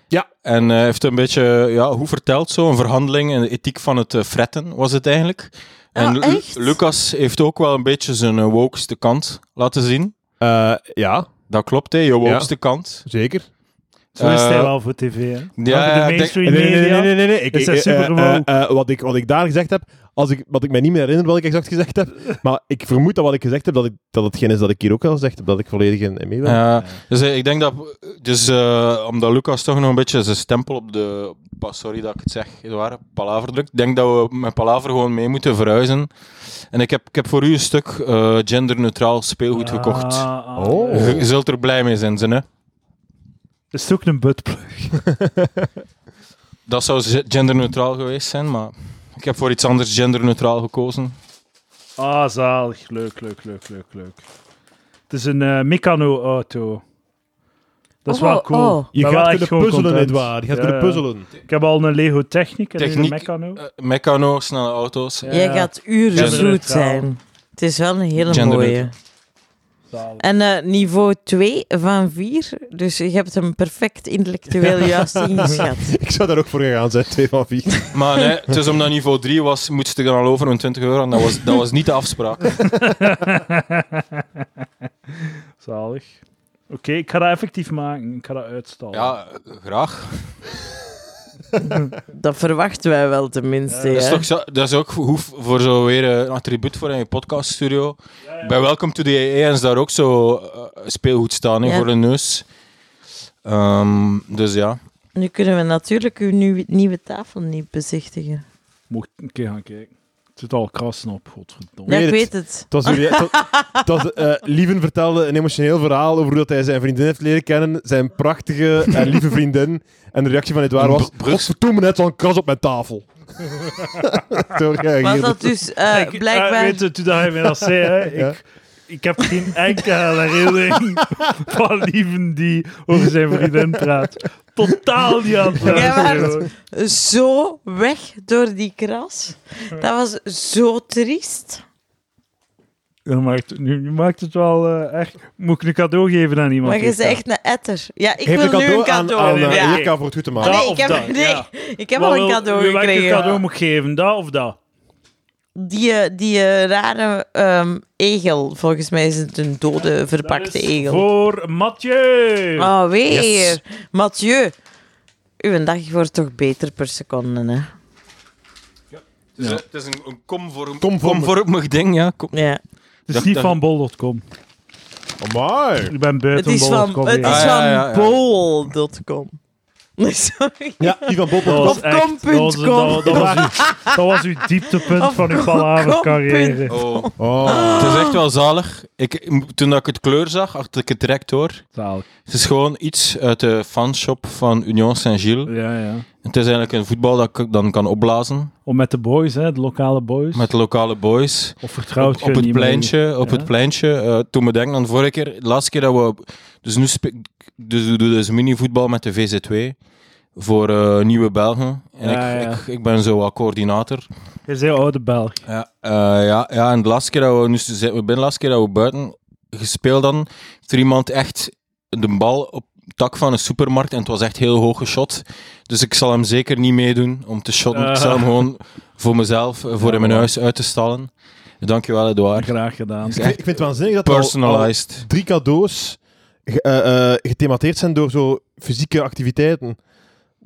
S2: Ja.
S4: En eh, heeft een beetje, ja, hoe vertelt zo, een verhandeling en de ethiek van het eh, fretten was het eigenlijk. En
S3: Ah, echt?
S4: Lu- Lucas heeft ook wel een beetje zijn eh, wokeste kant laten zien.
S2: Eh, ja,
S4: Dat klopt, hè, je wokeste kant.
S2: zeker.
S1: Zo is het
S4: Eh,
S1: wel voor tv, hè?
S4: ja,
S1: Voor
S4: ja,
S1: de
S4: ik denk-
S1: mainstream media.
S2: nee. nee. Ik,
S1: Is dat
S2: eh, eh,
S1: supergewoon?
S2: eh, eh, wat, ik, wat ik daar gezegd heb, als ik, wat ik mij niet meer herinner wat ik exact
S1: <laughs>
S2: gezegd heb, maar ik vermoed dat wat ik gezegd heb, dat, ik, dat hetgeen is dat ik hier ook al gezegd heb, dat ik volledig in, in mee ben.
S4: Ja, dus eh, ik denk dat, dus, eh, omdat Lucas toch nog een beetje zijn stempel op de, pas, sorry dat ik het zeg, Edouard, palaver drukt, ik denk dat we met palaver gewoon mee moeten verhuizen. En ik heb, ik heb voor u een stuk eh, genderneutraal speelgoed gekocht.
S1: Ah, ah.
S2: Oh.
S4: Je, je zult er blij mee zijn, zin, hè?
S1: Is het ook een buttplug?
S4: Dat zou ze- genderneutraal geweest zijn, maar ik heb voor iets anders genderneutraal gekozen.
S1: Ah, zalig. Leuk, leuk, leuk, leuk, leuk. Het is een eh, Meccano-auto. Dat is
S3: Oh,
S1: wel cool.
S3: oh.
S2: Je
S1: Dat
S2: gaat
S1: wel echt
S2: kunnen
S1: gewoon
S2: puzzelen,
S1: content.
S2: Edouard. Je gaat
S1: Ja,
S2: kunnen
S1: ja.
S2: puzzelen.
S1: Ik heb al een Lego Technic en
S4: Techniek,
S1: een Meccano.
S4: Eh, Meccano, snelle auto's.
S1: Ja.
S3: Jij gaat uren zoet
S1: Genderneutraal.
S3: zijn. Het is wel een hele
S4: Genderneutraal.
S3: mooie.
S1: Zalig.
S3: En eh, niveau 2 van 4, dus je hebt hem perfect intellectueel
S1: <laughs>
S3: juist ingeschat.
S2: Ik zou daar ook voor gegaan zijn, twee van vier.
S4: <laughs> Maar nee, het is omdat niveau 3 was, moest ik er al over een 20 euro en dat was, dat was niet de afspraak.
S1: <laughs> Zalig. Oké, ik ga dat effectief maken. Ik ga dat uitstallen.
S4: Ja, eh, graag.
S3: Dat verwachten wij wel tenminste.
S1: Ja,
S4: Dat, is
S3: hè?
S4: toch zo- dat is ook hoe- voor zo weer eh, een attribuut voor in je podcaststudio. Bij Welcome to the EA is daar ook zo eh, speelgoed staan hè,
S3: Ja.
S4: voor de neus. Ehm, dus ja.
S3: Nu kunnen we natuurlijk uw nieuwe, nieuwe tafel niet bezichtigen.
S1: Moet ik een keer gaan kijken. Het zit al krassen op, godverdomme.
S3: Ja,
S2: weet
S3: ik
S2: het.
S3: weet het.
S2: Het was, jullie- het was- het was, eh, Lieven vertelde een emotioneel verhaal over hoe dat hij zijn vriendin heeft leren kennen. Zijn prachtige en lieve vriendin. En de reactie van Edouard was...
S4: Br- Brussel.
S2: Godverdomme, net zo'n kras op mijn tafel. Zo
S3: Was
S2: reageerde
S3: dat dus
S1: <laughs>
S3: eh,
S1: Ik- eh,
S3: blijkbaar...
S1: weet je, toen dat hij mij dat zei, hè,
S2: Ja.
S1: ik, ik heb geen enkele herinnering <laughs> van Lieven die over zijn vriendin praat. Totaal niet aan het
S3: Jij
S1: luisteren,
S3: waart-
S1: hoor.
S3: zo weg door die kras. Dat was zo triest.
S1: Dat maakt, nu, nu maakt het wel eh, echt... Moet ik een cadeau geven aan iemand? eh,
S3: Maar je
S1: Eerst,
S3: bent
S1: hè?
S3: echt een etter. Ja, ik
S2: Geef
S3: wil
S2: een
S3: nu
S2: cadeau,
S3: een cadeau.
S2: aan, aan eh,
S3: ja.
S1: Erik.
S2: Jirka voor het goed te maken.
S1: Dat
S3: Nee,
S1: of
S3: ik heb,
S1: dat,
S3: <laughs> nee,
S1: ja.
S3: ik heb
S1: Wat
S3: al een
S1: wil-
S3: cadeau
S1: wil- welke
S3: gekregen.
S1: cadeau moet ik geven? Dat of dat?
S3: Die, eh, die eh, rare ehm, egel. Volgens mij is het een dode verpakte
S1: Dat is
S3: egel.
S1: Voor Mathieu.
S3: Oh, weer. Mathieu, uw dag wordt toch beter per seconde, hè?
S4: Dus Het is, het is een, een komvorm,
S2: Komvormig.
S4: komvormig ding, ja. Kom-
S3: Ja.
S1: het is
S4: dacht
S1: niet
S4: dat-
S1: van bol.com.
S2: Amai.
S1: Ik ben
S3: Het
S1: buiten
S3: is
S1: bol.com.
S3: van, het
S1: ja.
S4: Ah,
S3: is
S4: ja,
S3: van
S4: ja, ja.
S3: bol.com. Nee, <laughs> Sorry.
S2: Ja, Ivan Bob.
S1: Dat was
S3: Op
S1: echt-
S3: kom.com.
S1: Dat was, dat, dat was
S3: <laughs>
S1: uw, dat was uw dieptepunt
S3: Op
S1: van uw palavercarrière.
S4: Oh.
S2: Oh.
S4: <laughs> Het is echt wel zalig. Ik, toen dat ik het kleur zag, had ik het direct hoor.
S1: Zalig.
S4: Het is gewoon iets uit de fanshop van Union Saint-Gilles.
S1: Ja, ja.
S4: Het is eigenlijk een voetbal dat ik dan kan opblazen
S1: Om met de boys, hè, de lokale boys.
S4: met de lokale boys.
S1: of vertrouwt
S4: op,
S1: je
S4: op het
S1: niet meer?
S4: pleintje, op
S1: Ja.
S4: het pleintje. eh, toen we denken aan de vorige keer, de laatste keer dat we... Dus nu spe- dus we doen dus mini-voetbal met de VZ2 voor eh, Nieuwe Belgen. En
S1: Ja,
S4: ik,
S1: ja.
S4: Ik, ik ben zo wat coördinator.
S1: Je zei oude Belg.
S4: Ja, eh, ja, ja, en de laatste keer dat we... Nu zijn we binnen de laatste keer dat we buiten gespeeld hadden, heeft er iemand echt de bal op het tak van een supermarkt en het was echt heel hoog geshot. Dus ik zal hem zeker niet meedoen om te shotten.
S1: <laughs>
S4: Ik zal hem
S1: Ah.
S4: gewoon voor mezelf, eh, voor in mijn huis uit te stallen. Dankjewel, Edouard.
S1: Graag gedaan.
S2: Ik vind ik vind het waanzinnig dat er al-
S4: Personalized.
S1: Oh,
S2: al drie cadeaus ge- eh, eh, gethemateerd zijn door zo fysieke activiteiten.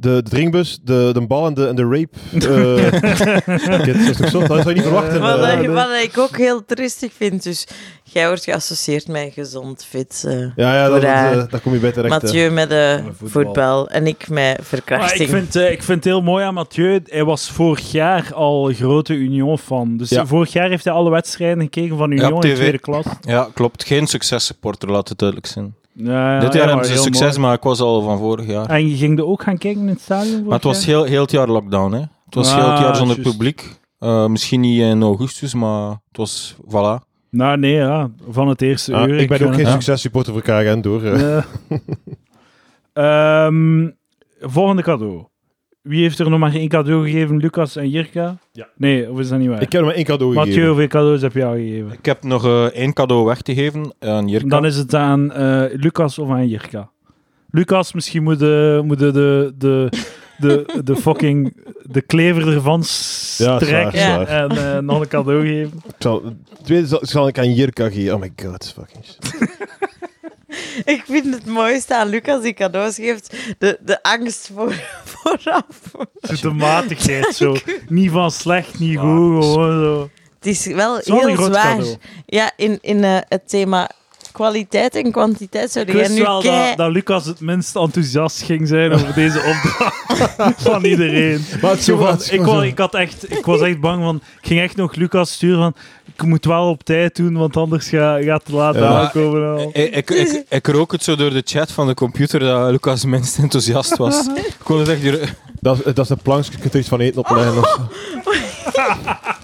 S2: De, de drinkbus, de, de bal en de, en de rape. eh, kit. dat is toch zo? Dat zou je niet verwachten.
S3: Wat,
S2: eh.
S1: Ja, nee.
S3: ik- wat ik ook heel tristig vind, dus jij wordt geassocieerd met gezond, fit. eh,
S2: ja, ja dat, dat,
S3: Hoera.
S2: eh, daar kom je bij terecht. eh.
S3: Mathieu met de
S1: Met voetbal.
S3: voetbal. en ik met
S1: Maar
S3: verkrachting.
S1: ik, vind, eh, ik vind het heel mooi aan Mathieu. Hij was vorig jaar al grote Union-fan. Dus
S2: Ja.
S1: vorig jaar heeft hij alle wedstrijden gekeken van
S4: Ja,
S1: Union
S4: op
S1: in
S4: TV.
S1: tweede klas. Ja,
S4: Ja, klopt. Geen successupporter, laat het duidelijk zijn.
S1: ja,
S4: Dit
S1: ja,
S4: jaar
S1: maar
S4: hebben ze
S1: heel
S4: succes,
S1: mooi.
S4: maar ik was al van vorig jaar.
S1: En je ging er ook gaan kijken in het stadion vorig
S4: maar het was
S1: jaar?
S4: heel, heel het jaar lockdown, hè. Het was heel het
S1: Ah,
S4: jaar zonder
S1: juist.
S4: publiek. Eh, misschien niet in augustus, maar het was, voilà.
S1: Nou, nee, ja. Van het eerste
S2: Ah,
S1: uur.
S2: ik ben ook
S1: vind
S2: geen
S1: het-
S2: succes-supporter voor KGN door. eh. <laughs>
S1: Ja. Ehm, volgende cadeau. Wie heeft er nog maar één cadeau gegeven? Lucas en Jirka?
S2: Ja.
S1: Nee, of is dat niet waar?
S2: Ik heb hem één cadeau
S1: Mathieu,
S2: gegeven.
S1: hoeveel cadeaus heb je jou gegeven?
S4: Ik heb nog eh, één cadeau weg te geven aan Jirka.
S1: Dan is het aan eh, Lucas of aan Jirka. Lucas, misschien moet de, moet de, de, de, de, de fucking de klever ervan
S2: Ja, is waar,
S1: strekken
S2: is
S3: Ja.
S2: waar.
S1: en eh, nog een cadeau geven.
S2: Ik zal, het tweede zal, zal ik aan Jirka geven. Oh my god, fucking shit.
S3: <laughs> Ik vind het mooiste aan Lucas die cadeaus geeft, de, de angst voor, <laughs> vooraf.
S1: Dus de matigheid
S2: <laughs>
S1: zo. Niet van slecht, niet goed, gewoon zo.
S3: Het is wel
S1: is wel een
S3: heel
S1: groot
S3: zwaar.
S1: cadeau.
S3: Ja, in, in eh, het thema kwaliteit en kwantiteit zou
S1: Ik
S3: jij
S1: wist
S3: nu
S1: wel
S3: kei-
S1: dat, dat Lucas het minst enthousiast ging zijn over deze
S3: <laughs>
S1: opdracht van iedereen.
S2: Maar het is
S1: Zo
S2: zo
S1: van,
S2: wat.
S1: ik, was, ik, had echt, ik was echt bang van. Ik ging echt nog Lucas sturen van. Ik moet wel op tijd doen, want anders ga, gaat het laat
S2: Ja.
S1: aankomen. en al.
S4: Eh, Ik, ik, ik, ik rook het zo door de chat van de computer dat Lucas <laughs> minst enthousiast was. ik kon het echt... hier-
S2: Dat, is- dat is de planks, je kunt er iets van eten opleggen. of zo. <laughs>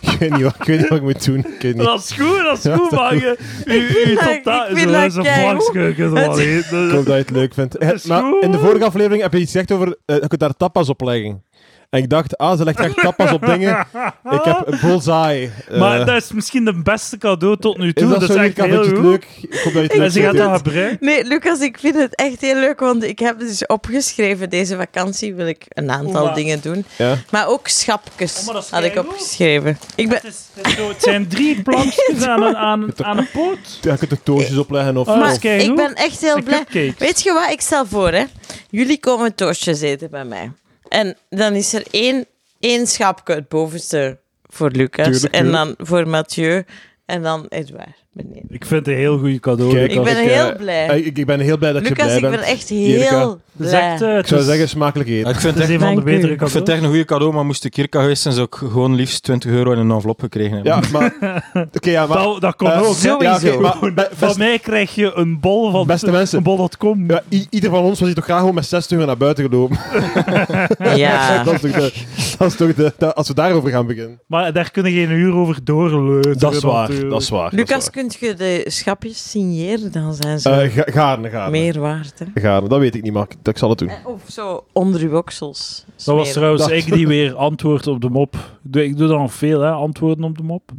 S2: ik, weet niet wat, ik weet niet wat ik moet doen. Ik weet niet.
S1: Dat is goed, dat is goed, man. Je, je, je
S3: vind dat-
S1: totaal zo
S3: ik vind
S1: dat
S3: dat
S1: is een
S3: keigoed.
S1: vlakske, je kunt er wel
S3: Het-
S2: Ik
S1: eten.
S2: hoop dat je het leuk vindt.
S1: <laughs> Dat is
S2: Eh, maar
S1: goed.
S2: in de vorige aflevering heb je iets gezegd over... eh, je kunt daar tapas op leggen. En ik dacht, ah, ze legt echt tapas op dingen. Ik heb een bullseye. Eh,
S1: maar dat is misschien de beste cadeau tot nu toe.
S2: is dat, zo,
S1: echt
S2: Jurka?
S1: heel
S2: Vind je
S1: goed.
S2: het leuk? Ik hoop dat je het leuk
S1: En ze gaat
S2: vindt.
S1: dat gebruiken.
S3: Nee, Lucas, ik vind het echt heel leuk, want ik heb dus opgeschreven, deze vakantie wil ik een aantal
S1: Oeh.
S3: dingen doen.
S2: Ja.
S3: Maar ook schapjes
S1: Oh, maar dat
S3: had ik
S1: schrijf je ook?
S3: opgeschreven. Ik ben...
S1: Het, is, het, is zo- het zijn drie
S3: <laughs>
S1: plankjes aan een, aan, aan een poot.
S2: Ja, je kunt er toosjes opleggen of...
S1: Oh, dat
S2: of-
S3: Maar
S1: is keigoed.
S3: ik ben echt heel
S1: Een
S3: blij.
S1: cupcake.
S3: Weet je wat? Ik stel voor, hè. Jullie komen toastjes eten bij mij. En dan is er één, één schapje, het bovenste, voor Lucas.
S2: Tuurlijk,
S3: En dan
S2: tuurlijk.
S3: voor Mathieu. En dan Edouard, beneden.
S1: Ik vind het een heel goede cadeau.
S2: Kijk,
S1: Lucas.
S3: Ik ben
S2: ik,
S3: heel
S2: eh,
S3: blij.
S2: Eh, Ik, ik ben heel blij dat je
S3: Lucas,
S2: blij
S3: ik
S2: bent.
S3: ben echt dus-
S2: Jurka.
S3: heel
S1: Het is echt, eh,
S3: blij.
S2: Ik
S1: het
S2: zou
S1: is-
S2: zeggen, smakelijk eten.
S4: Ik vind
S1: het
S4: het
S1: is
S4: echt,
S1: een van de
S3: Dank u.
S1: betere
S4: ik vind het
S1: cadeaus.
S4: echt een goede cadeau, maar moest ik hier geweest zijn, zou ik gewoon liefst 20 euro in een envelop gekregen hebben.
S2: Ja,
S1: <laughs>
S2: maar... Oké, ja, maar...
S1: Dat, dat komt
S2: eh,
S1: ook.
S2: ja, oké,
S1: Sowieso.
S2: maar be-
S1: Van
S2: best-
S1: mij krijg je een bol van
S2: Beste mensen.
S1: Een bol.com.
S2: ja, i- ieder van ons was hier toch graag gewoon met 60 uur naar buiten gelopen. <laughs>
S3: Ja.
S2: dat is toch de... Dat is toch de dat- als we daarover gaan beginnen.
S1: Maar daar kunnen geen uur over doorleuten. natuurlijk.
S2: waar.
S3: Lucas, kunt je de schapjes signeren? Dan zijn
S2: Eh,
S3: ze
S2: gaarne, gaarne.
S3: meer waard. Hè?
S2: Gaarne, dat weet ik niet, maar ik- ik zal het doen.
S3: Eh, Of zo onder uw oksels.
S1: Dat was
S3: smeren.
S1: trouwens
S2: Dat-
S1: ik die weer antwoord op de mop. Doe- Ik doe dan veel, hè, antwoorden op de mop.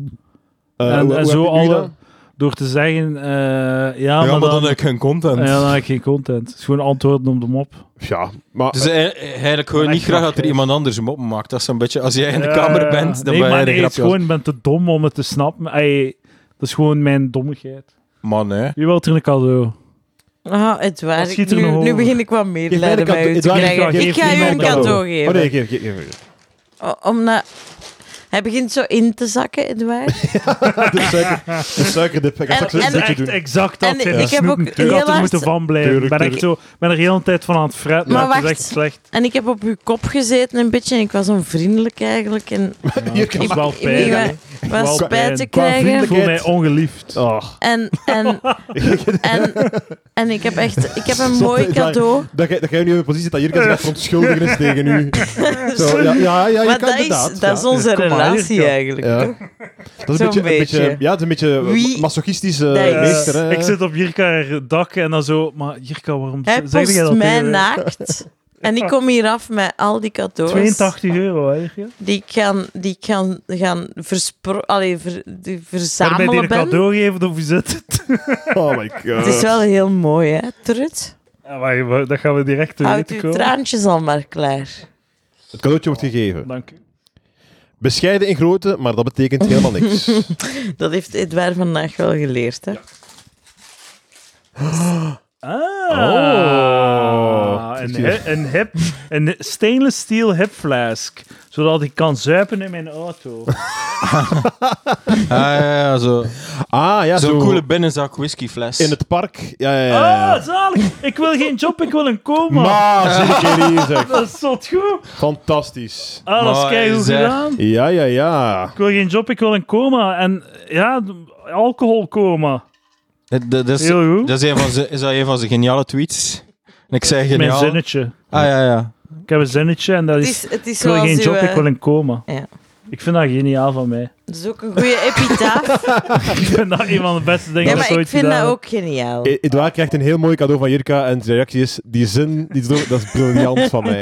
S2: Eh,
S1: en
S2: hoe-
S1: en
S2: hoe
S1: zo
S2: heb je nu
S1: alle,
S2: dat?
S1: door te zeggen, eh, ja,
S4: Ja,
S1: maar, dan,
S4: heb ik geen
S1: ja,
S4: content.
S1: dan heb ik geen content. Het is gewoon antwoorden op de mop.
S2: Ja, maar...
S4: Dus eh, eigenlijk gewoon
S1: Maar
S4: niet
S1: ik
S4: graag
S1: mag,
S4: dat er
S1: eh,
S4: iemand anders hem opmaakt. Dat is een beetje, als jij in de
S1: Ja,
S4: kamer
S1: ja,
S4: bent, dan
S1: nee,
S4: ben
S1: maar
S4: je de
S1: nee, het is
S4: grapje. als-
S1: gewoon, ik ben te dom om het te snappen. Ey, dat is gewoon mijn dommigheid.
S4: Man, hè.
S1: Wie wilt er een cadeau?
S3: Ah, het waar.
S1: Wat schiet er
S3: nu,
S1: nog
S3: nu
S1: over?
S3: begin ik wat
S2: Geef mij
S3: medelijden
S2: de
S3: bij u te
S2: cadeau. Edouard,
S3: krijgen.
S1: geef
S3: Ik ga u
S1: iemand
S3: een
S1: cadeau.
S3: cadeau
S2: Oh
S3: geven.
S2: nee, geef, geef, geef.
S3: O- Omdat... Hij begint zo in te zakken,
S1: <laughs>
S3: Edouard.
S2: De, suiker, de suikerdip. Ik ga
S3: En-
S1: Het
S2: straks een
S1: is
S3: en-
S2: dipje
S1: echt
S2: doen.
S1: exact dat.
S3: En
S1: hè.
S3: ik
S1: Dat
S3: heb
S1: snoepen,
S3: ook
S1: ik had
S3: heel
S1: er
S3: hard-
S1: moeten van blijven. Ik
S2: Tuurlijk,
S1: ben, echt zo, ben er heel de tijd van aan het fretten.
S3: Maar
S1: Het is
S3: wacht.
S1: echt slecht.
S3: En ik heb op u kop gezeten een beetje. En ik was onvriendelijk eigenlijk. En
S2: Hier
S1: Ik
S2: kan-
S1: was wel
S3: ik- ik- ik-
S1: pijn.
S3: was
S1: Qua- Ah,
S3: spijt
S2: qua
S3: te
S1: Ik
S3: krijgen.
S2: vriendelijk-
S1: voel mij ongeliefd.
S2: Oh,
S1: <laughs>
S3: En, en, en, en ik heb echt... Ik heb een mooi
S2: Sorry,
S1: <laughs>
S3: cadeau.
S2: dat jij dat jij nu in een positie zit dat Jurka zich echt verontschuldigen is tegen u.
S3: <laughs>
S2: Zo, ja, ja, ja,
S3: Maar
S2: Jurka,
S3: dat is,
S2: inderdaad.
S3: dat
S2: ja.
S3: is onze
S1: Kom maar,
S3: relatie
S1: Jurka.
S3: eigenlijk.
S2: Ja.
S3: toch?
S2: Dat is een
S3: Zo'n
S2: beetje, een beetje,
S3: beetje.
S2: ja, het is een beetje eh,
S3: Wie-
S2: masochistische
S3: Nee.
S1: Ja,
S2: meester. Hè?
S1: ik zit op Jirka haar dak en dan zo... Maar Jirka, waarom
S3: Hij
S1: zeg jij
S3: post
S1: dat
S3: mij
S1: tegen mij?
S3: naakt. En ik kom hier af met al die cadeaus
S1: 82 euro, hè, Jirka?
S3: die ik gaan, die ik gaan, gaan verspro- allee, ver- die
S1: Waarbij die een
S3: verzamelen ben.
S1: cadeau geven of hoe zit het?
S2: Oh my god.
S3: Het is wel heel mooi, hè, Trut?
S1: Ja, maar, maar dat gaan we direct te
S3: Houd
S1: weten
S3: uw
S1: komen.
S3: traantjes al maar klaar.
S2: Het cadeautje wordt gegeven.
S1: Dank u.
S2: Bescheiden in grootte, maar dat betekent helemaal niks.
S3: <laughs> Dat heeft Edouard vandaag wel geleerd, hè?
S1: Ah,
S4: Oh.
S1: een, hi- een, hip, een stainless steel hipflask, zodat ik kan zuipen in mijn auto.
S4: Ah, ja, ja, zo.
S2: Ah ja,
S4: Zo'n
S2: zo
S4: coole binnenzak whiskyfles.
S2: in het park. Ja, ja, ja. ja.
S1: Ah, zalig! Ik wil geen job, ik wil een coma.
S2: maar <laughs> zeker hier zeg.
S1: Dat is tot goed.
S2: Fantastisch.
S1: Ah, dat is
S4: Maar,
S1: keigoed
S4: zeg.
S1: gedaan.
S2: Ja, ja, ja.
S1: Ik wil geen job, ik wil een coma. En ja, alcoholcoma.
S4: Dat, dat is,
S1: Heel goed.
S4: dat is, een van zijn, is dat een van zijn geniale tweets? En ik zei
S1: Mijn
S4: geniaal. Ah,
S1: zinnetje.
S4: ja, ja.
S1: Ik heb een zinnetje en dat
S3: Het
S1: is...
S3: is, het is
S1: Ik wil
S3: zoals
S1: geen
S3: uw,
S1: job,
S3: eh,
S1: ik wil een coma.
S3: Ja.
S1: Ik vind dat geniaal van mij. <laughs>
S3: Dat is ook een goede epitaaf.
S1: Ik vind dat een van de beste dingen
S3: ja,
S1: dat
S3: maar
S1: ik
S3: ik
S1: ooit
S3: vind
S1: gedaan Eh,
S3: dat
S1: heb.
S3: ook geniaal.
S2: E- Edouard krijgt een heel mooi cadeau van Jurka en zijn reactie is, die zin, die is door- dat is briljant van mij.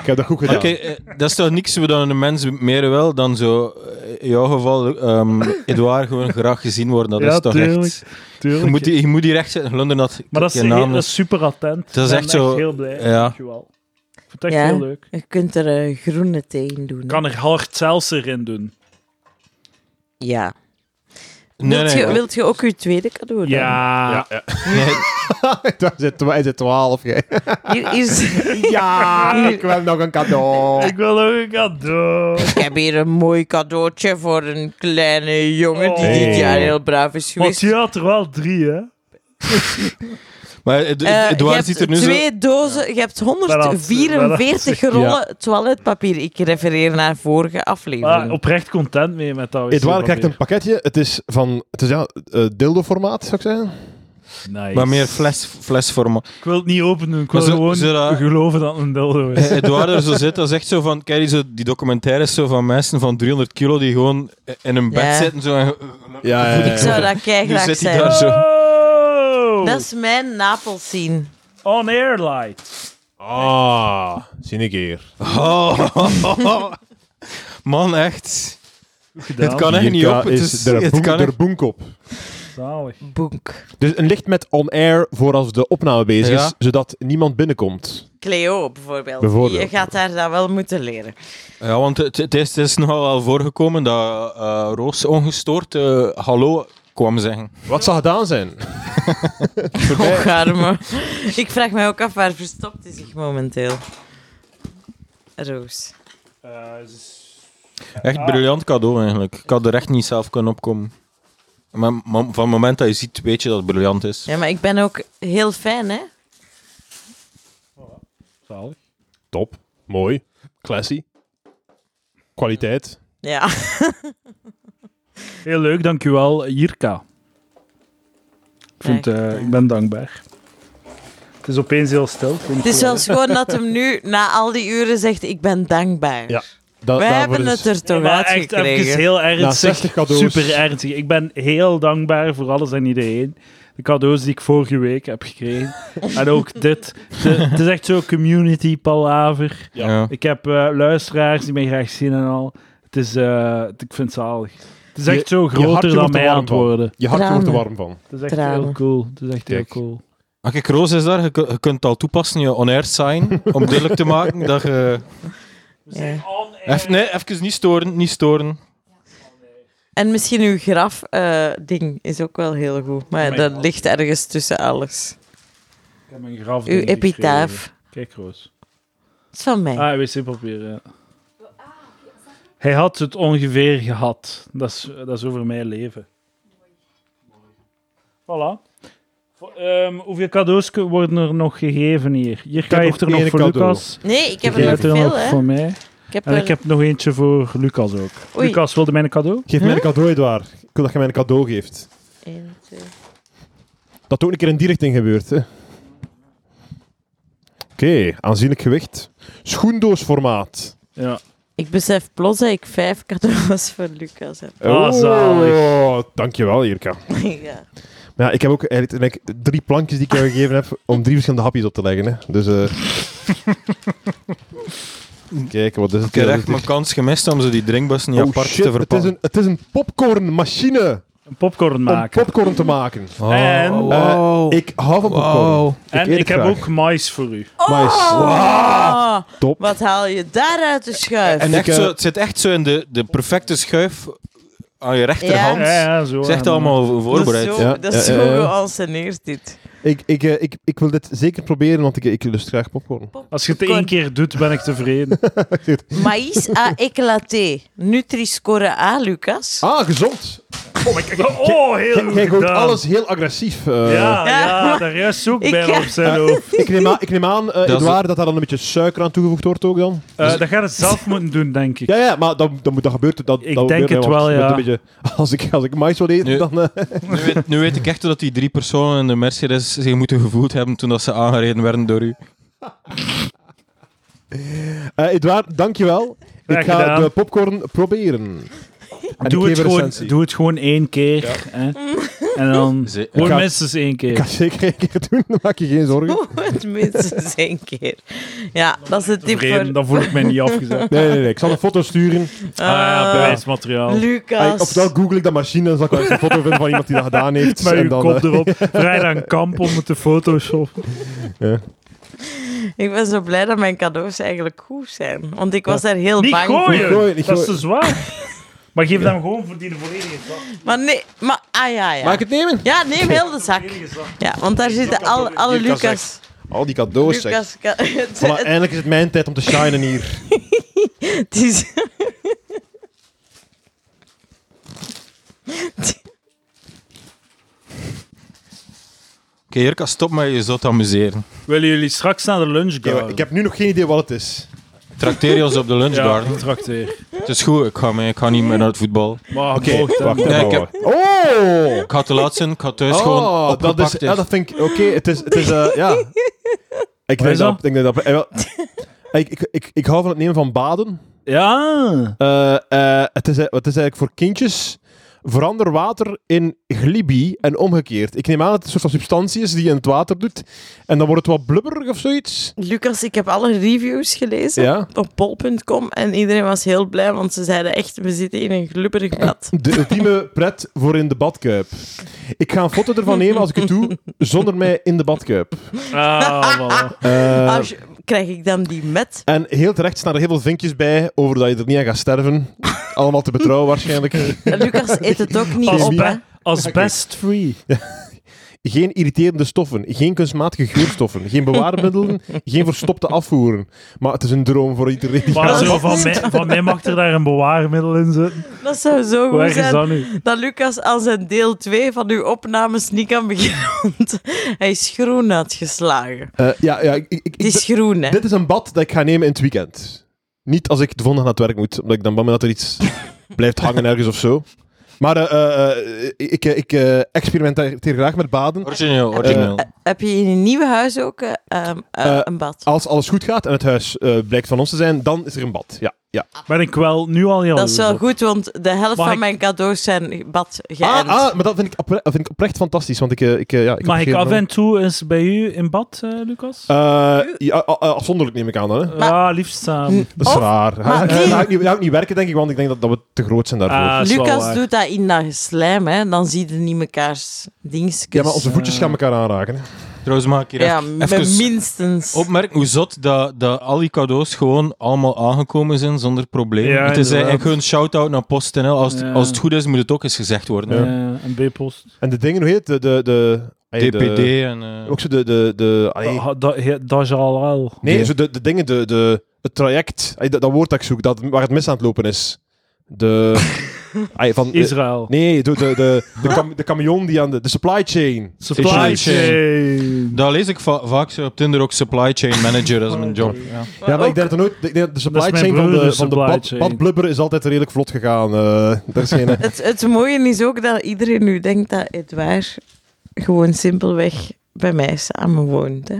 S2: Ik heb dat goed
S4: Maar
S2: gedaan. <laughs>
S4: kijk, eh, dat is toch niks wat een mens meer wil dan zo, eh, in jouw geval, ehm Edouard, gewoon graag gezien worden. Dat
S1: Ja,
S4: is toch
S1: tuurlijk,
S4: echt... Je
S1: Tuurlijk.
S4: moet, die, je moet die recht zetten, Glunder dat
S1: Maar dat is,
S4: je
S1: heel-
S4: naam
S1: dat
S4: is.
S1: is super attent.
S4: Dat is
S1: Ik ben
S4: echt zo-
S1: heel blij.
S4: ja.
S1: Dankjewel. Ik vind het echt
S3: Ja.
S1: heel leuk.
S3: Je kunt er eh, groene thee in doen. hè.
S1: Ik kan er hard seltzer in doen.
S3: Ja.
S4: Nee,
S3: wilt,
S4: nee,
S3: je,
S4: nee.
S3: wilt je ook je tweede cadeau doen?
S1: Ja.
S4: Nee,
S2: Edouard zit twa- Hij zit twaalf, jij.
S3: Hier is,
S2: <laughs>
S1: <laughs>
S2: Ja, ik wil nog een cadeau.
S1: Ik wil ook een cadeau.
S3: Ik heb hier een mooi cadeautje voor een kleine jongen
S1: Oh.
S3: die
S2: Hey.
S3: dit jaar heel braaf is geweest.
S1: Mathieu had er wel drie, hè?
S4: maar Ed-
S3: Eh, je
S4: Edouard
S3: hebt
S4: ziet er nu zo...
S3: twee dozen, je hebt
S1: Wel af-
S3: 144
S2: wel af-
S3: rollen toiletpapier. Ik refereer naar vorige
S1: Maar
S3: aflevering.
S1: oprecht content mee met dat.
S2: Edouard krijgt een pakketje. Het is van, het is ja, eh, dildo-formaat, zou ik zeggen.
S1: Nice.
S4: Maar meer fles, <laughs> flesformaat.
S1: Ik wil het niet openen. Ik wil
S4: Maar zo-
S1: gewoon
S4: zo dat-
S1: geloven dat het een dildo is.
S4: Eh, Edouard er zo zit, dat is echt zo van... Kijk, die, zo, die documentaires zo van mensen van 300 kilo die gewoon in een bed
S3: Ja.
S4: zitten. Zo, en- <laughs>
S2: Ja, ja, ja, ja.
S3: Ik zou dat
S4: Nu
S3: keihard
S4: zit hij
S3: zijn.
S4: daar zo.
S1: Oh!
S3: Dat is mijn Napels zien.
S1: On air light.
S2: Ah, zin ik hier.
S4: Man, echt.
S1: Gedaan.
S4: Het kan echt niet op. Het, is,
S2: de,
S4: het kan echt-
S2: boenkop.
S1: Zalig.
S3: Boek.
S2: Dus een licht met on-air voor als de opname bezig is,
S4: Ja.
S2: zodat niemand binnenkomt.
S3: Cleo bijvoorbeeld.
S2: Bijvoorbeeld.
S3: Je gaat daar dat wel moeten leren.
S4: Ja, want het, het is, het is nogal wel voorgekomen dat eh, Roos ongestoord eh, hallo kwam zeggen.
S2: Wat zou gedaan <laughs> zijn?
S3: Och, arme. Ik vraag mij ook af waar verstopt hij zich momenteel. Roos.
S1: Eh,
S4: Echt
S1: Ah.
S4: briljant cadeau eigenlijk. Ik had er echt niet zelf kunnen opkomen. Maar mo- van het moment dat je ziet, weet je dat het briljant is.
S3: Ja, maar ik ben ook heel fan, hè?
S1: Zalig.
S2: Top. Mooi. Classy. Kwaliteit.
S3: Ja. <laughs>
S1: Heel leuk, dankjewel, Jirka. Ik, vind,
S3: Echt,
S1: eh,
S3: ja.
S1: ik ben dankbaar. Het is opeens heel stil. ik weet niet
S3: Het is wel
S1: waarom.
S3: schoon dat hem nu na al die uren zegt: Ik ben dankbaar.
S2: Ja, Da-
S3: We
S2: daarvoor
S3: hebben
S2: is-
S3: het er
S1: Ja,
S3: toch
S1: maar
S3: uit
S1: echt even
S3: gekregen.
S1: heel
S2: Na
S1: ernstig.
S2: 60 cadeaus.
S1: Super ernstig. Ik ben heel dankbaar voor alles en iedereen. De cadeaus die ik vorige week heb
S3: <laughs>
S1: gekregen. en ook dit. De- het is echt zo'n community palaver.
S2: Ja.
S1: Ik heb eh, luisteraars die mij graag zien en al. Het is, eh, het- ik vind het zalig. Het is
S2: Je-
S1: echt zo
S2: je
S1: groter
S2: hartje
S1: dan
S2: wordt er
S1: mij aan
S2: warm
S1: het
S2: van.
S1: worden.
S2: Je hartje wordt er
S3: Tranen.
S2: warm van.
S1: Het is echt
S3: Tranen.
S1: heel cool. Het is echt heel
S2: Kijk.
S1: cool.
S4: Ah, kijk, Roos is daar. Je, kun- je kunt het al toepassen, je on-air sign. om duidelijk te maken dat je...
S3: Ja.
S4: Even, nee, even niet storen, niet storen.
S3: En misschien uw graf-ding is ook wel heel goed. Maar
S1: Mijn
S3: dat
S1: graf.
S3: ligt ergens tussen alles.
S1: Ik heb een graf
S3: Uw epitaaf.
S1: Kijk, Roos.
S3: Het is van mij.
S1: Ah, wc-papier, ja. Hij had het ongeveer gehad. Dat is, dat is over mijn leven. Voilà. Vo- ehm, hoeveel cadeaus ke- worden er nog gegeven hier? Jirka
S2: heb
S1: heeft er
S2: nog
S1: nog
S2: één
S1: voor
S2: cadeau.
S1: Lucas.
S3: Nee, ik heb
S1: Jij
S3: er nog
S1: hebt er
S3: veel,
S1: nog
S3: hè?
S1: voor mij.
S3: Ik heb
S1: En
S3: er-
S1: ik heb nog eentje voor Lucas ook.
S3: Oei.
S1: Lucas, wilde mij een cadeau?
S2: Geef mij een cadeau, Edouard. Ik wil dat je mij een cadeau geeft.
S3: Eén, twee.
S2: Dat ook een keer in die richting gebeurt. hè. Oké, aanzienlijk gewicht. Schoendoosformaat.
S1: Ja.
S3: Ik besef plots dat ik vijf cadeaus voor Lucas heb. <laughs> Oh.
S1: Ah, zalig.
S2: Oh, Dankjewel, Jirka.
S3: ja.
S2: Maar ja, ik heb ook eigenlijk like, drie plankjes die ik jou gegeven heb om drie verschillende hapjes op te leggen. Hè. Dus,
S4: <laughs>
S2: eh, Kijk, wat is het?
S4: Ik heb echt mijn kans gemist om ze die drinkbussen niet
S2: Oh,
S4: apart
S2: shit,
S4: te
S2: het is,
S4: verpakken.
S2: een, het is een popcornmachine
S1: Een popcorn maken.
S2: om popcorn te maken.
S1: En-
S4: Oh,
S2: Eh,
S4: wow.
S2: ik hou van popcorn.
S4: Wow.
S1: en
S2: eet
S1: ik heb
S2: graag.
S1: ook mais voor u.
S2: Mais.
S3: Oh,
S2: Top.
S3: wat haal je daaruit de schuif?
S4: En
S2: Ik,
S4: echt
S2: eh,
S4: zo, het zit echt zo in de, de perfecte schuif aan je rechterhand.
S1: Ja, ja, zo.
S4: Het is echt
S1: En,
S4: allemaal
S3: dat is
S4: voorbereid.
S3: zo,
S2: Ja,
S3: dat is
S2: ja,
S3: zo
S2: ja, ja.
S3: geanceneerd, dit.
S2: Ik, ik, eh, ik, ik wil dit zeker proberen, want ik, ik lust graag popcorn.
S1: eh, Als je het één keer doet, ben ik tevreden.
S3: Maïs à éclaté. Nutri-score A, Lucas.
S2: Ah, gezond.
S1: Oh, my God. oh heel goed
S2: Jij gooit
S1: gedaan.
S2: alles heel agressief. eh.
S1: Ja,
S3: Ja.
S1: ja, daar juist ook
S3: Ik
S1: bij
S3: ga-
S1: op zijn hoofd.
S2: Ik neem aan, ik neem aan eh,
S4: is-
S2: Edouard, dat daar dan een beetje suiker aan toegevoegd wordt ook dan.
S1: Eh, dat gaat het zelf moeten doen, denk ik.
S2: Ja, ja, maar dan, dan moet dat gebeuren. Dat,
S1: Ik
S2: dat
S1: denk
S2: gebeurt,
S1: het
S2: hè,
S1: wel,
S2: want moet
S1: ja.
S2: Een beetje, <laughs> als, ik, als ik mais wil eten,
S4: Nu-
S2: dan... eh,
S4: Nu <laughs> weet, nu weet ik echt hoe dat die drie personen in de Mercedes zich moeten gevoeld hebben toen dat ze aangereden werden door u.
S2: Eh, Edouard, dankjewel.
S1: Graag
S2: ik ga
S1: gedaan.
S2: de popcorn proberen. En ik
S1: Doe,
S2: geef
S1: het
S2: een
S1: gewoon,
S2: recensie.
S1: doe het gewoon één keer. Hè? En dan
S4: Ze-
S1: gewoon
S2: Ik ga-
S1: minstens één
S2: Ik
S1: keer.
S2: ga het zeker één keer doen, <laughs> dan maak je geen
S3: <laughs>
S2: zorgen.
S3: Het minstens één keer. Ja, dat is de tip
S1: Tevreden,
S3: voor
S1: dan voel ik mij
S3: <laughs>
S1: niet afgezet.
S2: Nee, nee, nee. Ik zal een foto <laughs> sturen.
S1: Ah, ja,
S3: Ah,
S1: bewijsmateriaal.
S2: Of
S3: Lucas.
S2: Ofwel google ik dat machine, dan zal ik wel eens een foto vinden van iemand die dat
S1: <laughs>
S2: gedaan heeft.
S1: Met uw
S2: dan,
S1: kop
S2: eh, <laughs>
S1: erop. Vrijdag een kamp om het te photoshoppen.
S3: Ik ben zo blij dat mijn cadeaus eigenlijk goed zijn. Want ik was daar heel
S1: Niet
S3: bang
S1: gooien,
S2: Niet gooien, niet
S1: dat is te
S2: gooien.
S1: zwaar. Maar geef hem gewoon voor die volledige zak.
S3: voor. Maar nee, maar... Ah ja, ja.
S2: Mag ik het nemen?
S3: Ja, neem heel de zak.
S1: Volledige zak.
S3: Ja, want daar zitten al, alle
S2: Lucas
S3: Lucas...
S2: Al die cadeaus, zeg.
S3: Lucas... ka- <laughs> Het,
S2: Voilà,
S3: het,
S2: eindelijk is het mijn tijd om te shinen hier.
S3: het is... <laughs>
S4: Oké, Jirka, stop met je zot amuseren.
S1: Willen jullie straks naar de lunch
S2: Oké,
S1: gaan?
S2: maar ik heb nu nog geen idee wat het is.
S4: Trakteer je ons <laughs> op de
S1: ja,
S4: lunchgarden.
S1: ik trakteer.
S4: Het is goed, ik ga, mee, ik ga niet meer naar het voetbal.
S1: Maar
S2: Oké,
S1: mocht, hè.
S2: wacht
S4: Ja,
S2: even.
S4: ik heb-
S2: Oh!
S4: Ik ga te laat zijn, ik ga thuis gewoon
S2: Oh, dat is...
S4: opgepakt.
S2: Ja, dat vind ik... Oké, het is... Het is eh, ja. Ik
S1: Wat
S2: denk
S1: is
S2: dat...
S1: dat?
S2: Ik, denk dat eh, wel, ik, ik, ik, ik hou van het nemen van baden.
S1: Ja.
S2: Eh, eh, het, is, eh, het is eigenlijk voor kindjes Verander water in glibi en omgekeerd. Ik neem aan dat het een soort van substantie is die je in het water doet. En dan wordt het wat blubberig of zoiets.
S3: Lucas, ik heb alle reviews gelezen
S2: Ja.
S3: op pol.com en iedereen was heel blij, want ze zeiden echt, we zitten in een glubberig bad.
S2: De ultieme pret voor in de badkuip. Ik ga een foto ervan nemen als ik het doe, zonder mij in de badkuip.
S1: Ah, voilà.
S2: Eh,
S3: Als je- krijg ik dan die met?
S2: en heel terecht staan er heel veel vinkjes bij over dat je er niet aan gaat sterven. Allemaal te betrouwen waarschijnlijk.
S3: En Lucas eet het ook niet
S1: Als,
S3: op, hè.
S1: be- als best free.
S2: Geen irriterende stoffen, geen kunstmatige geurstoffen, geen bewaarmiddelen, geen verstopte afvoeren. Maar het is een droom voor iedereen. die
S1: Maar
S2: gaat-
S1: zo van, mij, van mij mag er daar een bewaarmiddel in zitten.
S3: Dat zou zo goed
S1: Waar is
S3: zijn
S1: dat nu?
S3: dat Lucas aan zijn deel 2 van uw opnames niet kan beginnen. <laughs> want Hij is groen uitgeslagen.
S2: Eh, ja, ja, ik, ik- ik-
S3: Het is groen, hè.
S2: dit is een bad dat ik ga nemen in het weekend. Niet als ik de volgende naar het werk moet, omdat ik dan bang ben dat er
S3: <laughs>
S2: iets blijft hangen ergens of zo. Maar eh, eh, eh, ik, eh, ik eh, experimenteer graag met baden.
S4: Origineel, origineel.
S3: Heb je in je nieuwe huis ook eh, ehm, eh,
S2: Eh,
S3: een bad?
S2: Als alles goed gaat en het huis eh, blijkt van ons te zijn, dan is er een bad. Ja, ja.
S1: Ben ik wel nu al jaloers
S3: Dat is wel
S1: op.
S3: goed, want de helft
S1: Mag
S3: van
S1: ik-
S3: mijn cadeaus zijn bad geënt.
S2: Ah, ah, maar dat vind ik, opre- dat vind ik oprecht fantastisch. Want ik, eh, ik, eh, ja, ik
S1: Mag
S2: heb
S1: ik
S2: geen-
S1: af en toe eens bij u in bad, eh, Lucas?
S2: Eh, ja, a- a- afzonderlijk neem ik aan dan. Hè.
S3: Eh, maar- Hm.
S1: ja, liefst samen.
S2: Dat is
S3: Of-
S2: raar.
S3: maar
S2: Eh,
S3: nee.
S2: dat, ga ik niet, dat ga ik niet werken, denk ik, want ik denk dat, dat we te groot zijn daarvoor.
S1: Ah, dat is wel
S3: Lucas
S1: waar.
S3: doet dat in dat slijm, hè. Dan zie je niet mekaars dingetjes.
S2: ja, maar onze voetjes gaan elkaar aanraken. hè.
S4: Trouwens, maak hier
S3: Ja,
S4: even-
S3: met
S4: even
S3: minstens.
S4: opmerken hoe zot dat, dat al die cadeaus gewoon allemaal aangekomen zijn zonder probleem.
S1: Ja,
S4: het is eigenlijk
S1: inderdaad.
S4: gewoon een shout-out naar PostNL. Als het,
S1: Ja.
S4: als het goed is, moet het ook eens gezegd worden.
S1: Eh, een B-post.
S2: En de dingen, hoe heet het? De, de, de, eh, de-
S4: DPD en... eh,
S2: ook zo de... de, de allee,
S1: Dat- Ah, Dat heet Dajalal.
S2: nee,
S4: de-
S2: zo de, de dingen, de, de, het traject. Allee, dat, dat woord dat ik zoek, dat, waar het mis aan het lopen is.
S1: <laughs>
S2: De... allee, van, eh,
S1: Israël.
S2: nee, de, de, de, de, kam- de camion die aan de... De supply chain.
S1: Supply
S4: Supply
S1: chain.
S4: Daar lees ik va- vaak zo op Tinder ook supply chain manager, dat is
S3: Oh,
S4: mijn job.
S2: Ja, maar ik denk dat nooit... ik denk dat de supply
S1: Dat is mijn
S2: chain van
S1: broer,
S2: de,
S1: de
S2: van de
S1: supply
S2: bad,
S1: chain.
S2: badblubber is altijd redelijk vlot gegaan. eh daar
S1: <laughs>
S2: is geen...
S3: Het, het mooie is ook dat iedereen nu denkt dat Edouard gewoon simpelweg bij mij samen woont. Hè?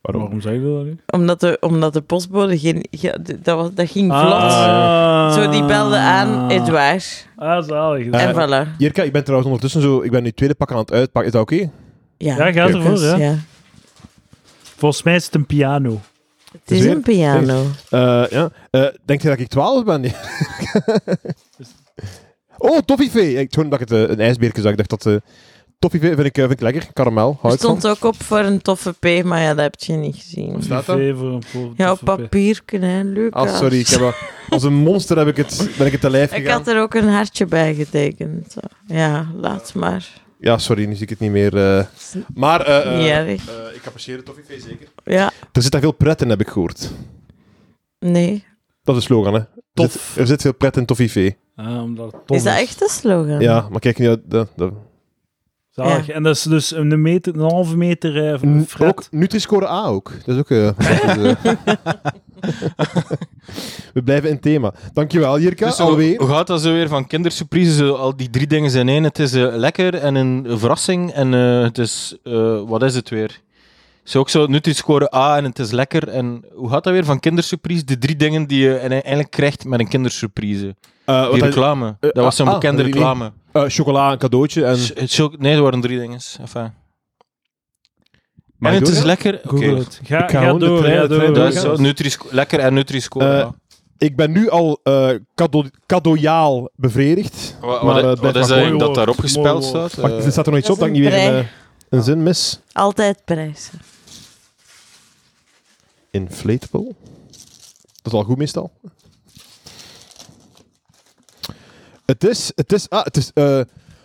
S1: Waarom zei je dat nu?
S3: Omdat, de, omdat de postbode geen... ge- de- dat, was- dat ging vlot.
S1: Ah.
S3: Zo, die belde aan Edouard.
S1: Ah, zalig.
S2: Eh,
S3: en voilà.
S2: Jirka, ik ben trouwens ondertussen zo... Ik ben nu het tweede pak aan het uitpakken. Is dat oké?
S3: Ja,
S1: ja, gaat
S3: Lucas,
S1: ervoor, ja.
S3: ja.
S1: Volgens mij is het een piano.
S3: Het is
S2: Zeer-
S3: een piano.
S2: Eh, ja. Eh, denk je dat ik 12 ben? <laughs> oh, toffifee. Ik toen dat ik het eh, een ijsbeertje zag. Ik dacht dat eh toffifee vind ik, eh, vind ik lekker. Karamel,
S3: Er
S2: hou ik van.
S3: stond ook op voor een toffe P, maar ja, dat heb je niet gezien.
S2: staat dat?
S1: Privé voor een po-
S3: Ja, op
S1: voor-
S3: papier hè, Lucas.
S2: Ah, sorry. Ik heb, wel- als een monster heb ik het, ben ik het te lijf
S3: eh, Ik
S2: gegaan.
S3: had er ook een hartje bij getekend. Ja, laat maar.
S2: Ja, sorry. Nu zie ik het niet meer. eh. Maar eh, eh,
S3: Niet erg.
S2: eh, ik apprecieer het toffifee zeker.
S3: Ja,
S2: Er zit daar veel pret in, heb ik gehoord.
S3: nee.
S2: Dat is de slogan, hè? Er
S1: Tof.
S2: zit- Er zit veel pret in toffifee.
S1: Ah, omdat het tof
S3: Is dat echt een slogan?
S2: Ja, maar kijk nu... dat- dat- dat-
S1: Zalig.
S3: Ja.
S1: En dat is dus een, meter, een halve meter eh, van
S2: N-
S1: Fred.
S2: Mm, Ook Nutri-score A ook. Dat is ook... eh, <laughs> dat is, eh, We blijven in thema. Dankjewel, Jirka.
S4: Dus hoe,
S2: alweer.
S4: hoe gaat dat zo weer van kindersurprises? Zo Al die drie dingen zijn één. Het is eh, lekker en een verrassing. En eh, het is... eh, wat is het weer? Zo ook zo, Nutri-score A en het is lekker. En hoe gaat dat weer van kindersurprise? De drie dingen die je eigenlijk krijgt met een kindersurprise.
S2: Eh, wat
S4: Die
S2: had-
S4: reclame.
S2: eh,
S4: dat was zo'n
S2: ah,
S4: bekende
S2: dat weet ik niet.
S4: reclame.
S2: eh, chocola, een cadeautje en...
S4: Sch- het zulke- nee, er waren drie dingen. Enfin.
S2: Mag
S4: En
S2: ik
S4: het is
S2: door?
S4: lekker... Oké.
S1: Google het. Ga,
S2: Ik ga
S1: ga
S2: gewoon de
S1: door,
S2: trein-
S1: ga
S2: de trein
S1: door.
S4: Dat is
S2: doorgaan.
S4: zo, Nutri-sco- lekker en Nutri-score
S2: Eh,
S4: A.
S2: Ik ben nu al eh cado cadeaujaal bevredigd.
S4: Wa- Wat,
S2: maar, eh,
S4: wat
S2: blijf
S4: is
S2: maar
S4: dat,
S1: mooi
S4: dat
S1: woord,
S4: daarop
S1: mooi
S4: gespeld
S1: woord.
S4: staat?
S2: Wacht,
S4: Eh,
S2: er staat er nog iets op
S3: dat
S2: dat
S3: is
S2: ik niet
S3: een
S2: weer een,
S3: brei.
S2: eh, een zin mis.
S3: Altijd prijzen.
S2: Inflatable. Dat is al goed meestal. Het is... Het is, ah, het is eh,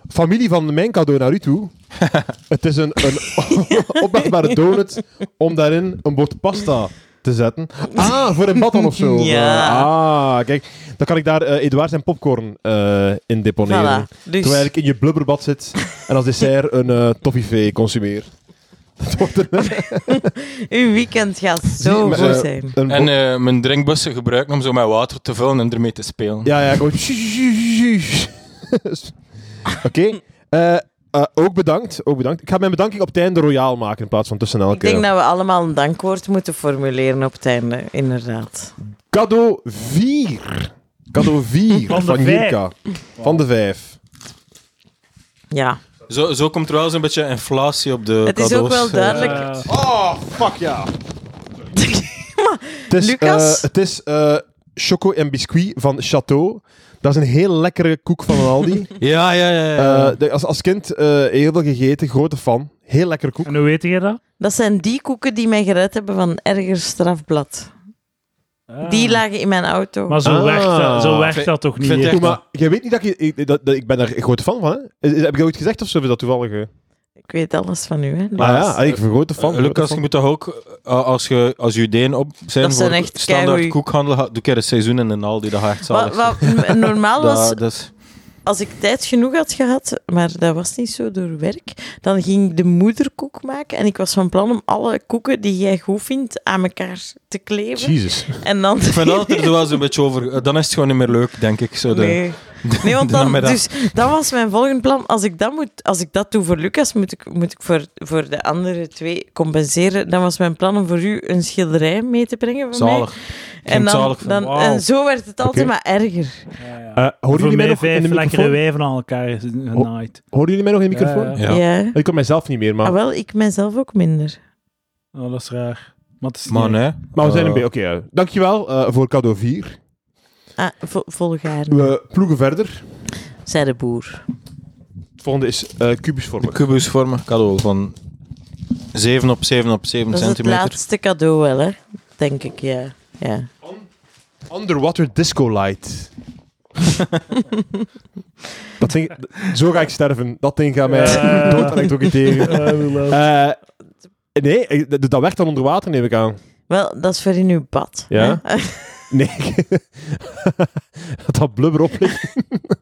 S2: familie van mijn cadeau naar u
S3: <laughs>
S2: toe. het is een, <laughs> een opbergbare donut om daarin een bord pasta te zetten. Ah, voor een bad dan of zo.
S3: <laughs> Ja.
S2: Ah, kijk. Dan kan ik daar eh Eduard zijn popcorn eh, in deponeren.
S3: Voilà. Dus
S2: Terwijl ik in je blubberbad zit en als dessert een eh toffifee consumeer. Dat wordt een,
S3: uw weekend gaat
S2: Zie,
S3: zo
S2: maar,
S3: goed
S2: eh,
S3: zijn.
S2: een
S4: En eh, mijn drinkbussen gebruiken om zo met water te vullen en ermee te spelen.
S2: Ja, ja, gewoon. <laughs> Oké. eh, eh, ook bedankt, ook bedankt. Ik ga mijn bedanking op het einde royaal maken in plaats van tussen elke.
S3: Ik denk dat we allemaal een dankwoord moeten formuleren op het einde, inderdaad.
S2: Cadeau 4. Cadeau 4
S1: Van de
S2: van,
S1: vijf.
S2: Jirka. Van de 5.
S3: Ja.
S4: Zo, zo komt er wel eens een beetje inflatie op de
S3: Het is ook
S4: cadeaus.
S3: wel duidelijk.
S1: Eh,
S2: Oh, fuck
S3: <laughs>
S2: ja. Het is,
S3: Lucas?
S2: eh, het is eh, choco en biscuit van Chateau. Dat is een heel lekkere koek van een
S3: <laughs>
S2: Aldi.
S4: Ja, ja, ja. ja.
S2: Eh, de- als, als kind eh, heel veel gegeten, grote fan. Heel lekkere koek.
S1: en hoe weet jij dat?
S3: Dat zijn die koeken die mij gered hebben van erger strafblad.
S1: Ah.
S3: Die lagen in mijn auto.
S1: Maar zo
S2: Ah.
S1: werkt dat, zo werkt
S4: Vind-
S1: dat toch
S4: ik vind
S1: niet?
S4: echt-
S2: Goed, maar jij weet niet dat ik... Ik, dat, dat- ik ben daar een grote fan van, hè? Is- is- Heb ik dat ooit gezegd of zo? Of is dat toevallig? eh?
S3: Ik weet alles van u, hè? Lucas.
S2: Ah ja, ik ben een grote fan.
S4: Eh, Lucas,
S2: grote
S4: je
S2: fan.
S4: moet toch ook, eh, als je als je ideeën op zijn
S3: Dat
S4: voor
S3: zijn echt
S4: standaard
S3: keigoeie-
S4: koekhandel, ga- doe ik er een seizoen in en al die dag echt
S3: Wat,
S4: zalig.
S3: wat
S2: <laughs>
S3: m- normaal
S4: Dat-
S3: was,
S4: dat is-
S3: als ik tijd genoeg had gehad, maar dat was niet zo door werk, dan ging ik de moederkoek maken. En ik was van plan om alle koeken die jij goed vindt aan elkaar te kleven.
S2: Jezus.
S1: Eh,
S3: En dan... <laughs>
S4: ik vind dat er zo wel eens een beetje over. eh, Dan is het gewoon niet meer leuk, denk ik. Zo de,
S3: Nee. nee, want
S4: de
S3: dan,
S4: namiddag.
S3: dus, dat was mijn volgende plan. Als ik dat, moet, als ik dat doe voor Lucas, moet ik, moet ik voor, voor de andere twee compenseren. Dan was mijn plan om voor u een schilderij mee te brengen van mij.
S4: zalig.
S3: En,
S4: Klinkt
S3: dan,
S4: zalig van,
S3: dan,
S1: wauw.
S3: en zo werd het altijd
S2: Oké.
S3: maar erger.
S1: Ja, ja.
S2: Eh, hoorden,
S1: Voor
S2: jullie mij
S1: mij
S2: nog in
S1: vijf
S2: de
S1: lekkere
S2: microfoon?
S1: wijven aan elkaar is een een
S2: Oh.
S1: night.
S2: Hoorden jullie mij nog in de
S1: Ja,
S2: microfoon?
S1: ja.
S4: Ja.
S3: Ja.
S2: Ik kan mijzelf niet meer, maar...
S3: Ah, wel, ik mijzelf ook minder.
S1: Oh, dat is raar. Maar het is
S4: Maar
S1: niet-
S4: nee.
S2: Maar we zijn een
S4: eh,
S2: beetje... Oké, ja. dankjewel eh, voor cadeau 4.
S3: Ah, vo volgaar.
S2: We ploegen verder.
S3: Zei de boer.
S2: Het volgende is eh kubusvormig.
S4: kubusvormen cadeau van 7 op 7 op 7
S3: Dat is het
S4: centimeter.
S3: laatste cadeau wel, hè? Denk ik, ja. ja.
S2: Underwater Disco Light. dat ding, d- zo ga ik sterven. Dat ding gaat mij
S1: Eh.
S2: dood
S1: <laughs>
S2: elektrocuteren.
S1: Eh, we lopen.
S2: Eh, nee, eh, d- dat werkt dan onder water, neem ik aan.
S3: Wel, dat is voor in uw bad.
S2: Ja?
S3: hè. <laughs>
S2: Nee. dat dat blubber op ligt.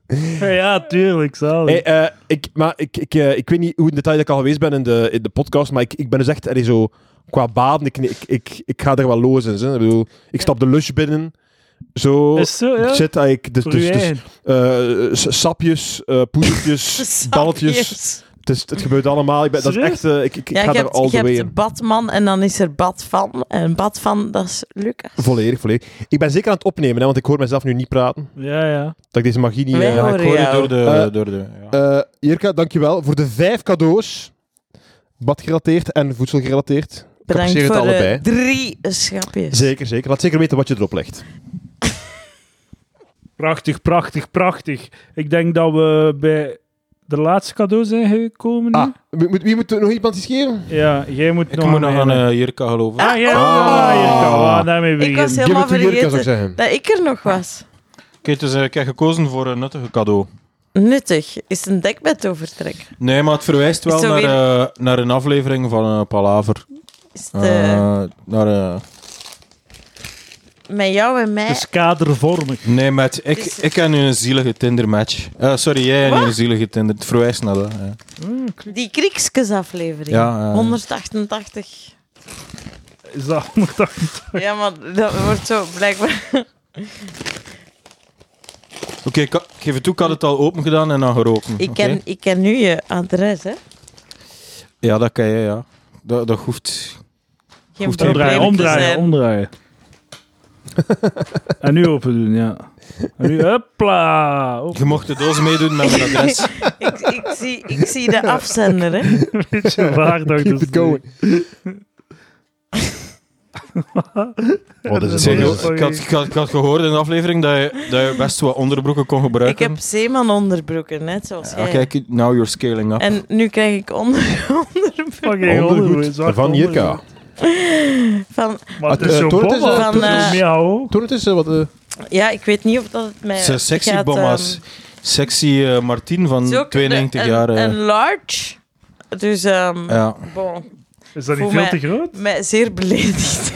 S1: <laughs> ja, tuurlijk, zalig.
S2: Hey, eh, ik, maar ik, ik, eh, ik weet niet hoe in detail dat ik al geweest ben in de, in de podcast, maar ik, ik ben dus echt allee, zo, qua baden, ik, ik, ik, ik ga er wel los in. zo. Ik bedoel, ik stap de lush binnen, zo...
S1: is het zo, ja?
S2: Shit, ah, ik, dus,
S1: Voor
S2: dus,
S1: u
S2: dus,
S1: eigen.
S2: eh, s- sapjes, eh
S3: <laughs>
S2: poedertjes, balletjes. Het, is, het gebeurt allemaal. Ik, ben, dat is
S1: Serieus?
S2: echt, eh, ik, ik, ik
S3: Ja,
S2: ga
S3: je
S2: er
S3: hebt,
S2: al
S3: je
S2: the way
S3: hebt
S2: in.
S3: Batman en dan is er Batvan. En Batvan, dat is Lucas.
S2: Volledig, volledig. Ik ben zeker aan het opnemen, hè, want ik hoor mezelf nu niet praten.
S1: Ja, ja.
S2: Dat ik deze magie niet...
S3: Wij
S2: eh,
S4: Ja, ik
S3: Horen
S4: hoor je
S3: jou.
S4: door de.
S2: Eh,
S4: door de ja.
S2: Eh Jirka, dankjewel voor de vijf cadeaus. Badgerelateerd en voedselgerelateerd.
S3: Bedankt
S2: Capseer het
S3: voor
S2: allebei.
S3: de drie schapjes.
S2: Zeker, zeker. Laat zeker weten wat je erop legt.
S1: Prachtig, prachtig, prachtig. Ik denk dat we bij de laatste cadeau zijn gekomen. nu.
S2: Ah, wie moet, wie moet er nog iemand iets geven?
S1: Ja, jij moet
S4: ik
S1: nog
S4: moet nog aan
S1: een-
S4: eh, Jirka geloven.
S1: Ah, ja,
S2: Ah.
S1: hier kan we gaan daarmee
S3: Ik was
S1: beginnen.
S2: Give
S3: helemaal
S2: it to Jirka, zou ik
S3: vergeten
S2: zeggen.
S3: dat ik er nog was.
S4: Oké, dus eh, ik heb gekozen voor een nuttige cadeau.
S3: Nuttig. Is een dekbed overtrek.
S4: Nee, maar het verwijst wel
S3: Is zo
S4: naar,
S3: weer-
S4: eh, naar een aflevering van eh, Palaver.
S3: Is
S4: Eh,
S3: het, eh,
S2: Ah.
S4: naar, eh,
S3: met jou en mij.
S2: Dus
S1: Het is Dus kadervormig.
S4: nee, met, ik,
S3: Is-
S4: ik heb nu een zielige Tinder-match. Eh, sorry, jij hebt nu
S3: Wat?
S4: een zielige Tinder. Het verwijst naar dat. ja.
S3: Die Kriekskes-aflevering.
S4: Ja,
S2: eh.
S4: ja.
S3: 188.
S1: Is dat <laughs> 180?
S3: Ja, maar dat wordt zo blijkbaar...
S4: Oké, ik, ha- ik geef het toe, ik had het al open gedaan en dan geroken.
S3: Ik
S4: Oké?
S3: ken, ik ken nu je adres, hè.
S4: Ja, dat kan je, ja. Dat, dat hoeft.
S3: Geen
S4: Goed,
S1: Omdraaien,
S3: probleem te
S1: omdraaien,
S3: zijn.
S1: omdraaien. <laughs> en nu open doen, ja. En nu, hopla.
S4: Je mocht het doos meedoen met mijn
S3: <laughs>
S4: adres.
S3: ik, ik, zie, ik zie de afzender, hè.
S1: Weet je waar dat ik
S2: Keep
S1: dus
S2: it going. <laughs> Wat Oh, is het?
S1: Zeg,
S4: Ik
S1: joh.
S2: Zeg,
S4: had, ik, had, ik had gehoord in de aflevering dat je, dat je best wat onderbroeken kon
S3: Ik
S4: gebruiken.
S3: heb zeeman onderbroeken, net zoals
S4: Ah,
S3: jij.
S4: kijk, now you're scaling up.
S3: En nu krijg ik onder, onderbroeken
S1: Fucking ondergoed. zwart
S2: van Jirka.
S1: ondergoed.
S3: van...
S1: Maar het
S2: Ah,
S1: is
S2: eh,
S1: zo'n
S2: Toort is,
S1: bomma.
S3: eh,
S1: Het is
S3: van, eh,
S1: meer hoog.
S2: Toen het is eh, wat... eh,
S3: Ja, ik weet niet of dat het mij
S4: Ze sexy
S3: gaat,
S4: bomma's.
S3: eh, ehm,
S4: Sexy eh, Martien van
S3: het is ook
S4: 92
S3: een-
S4: jaar. eh,
S3: Een large. Dus, ehm
S4: ja.
S3: bon,
S1: Is dat niet
S3: Voel
S1: veel
S3: mij-
S1: te groot?
S3: mij zeer beledigd.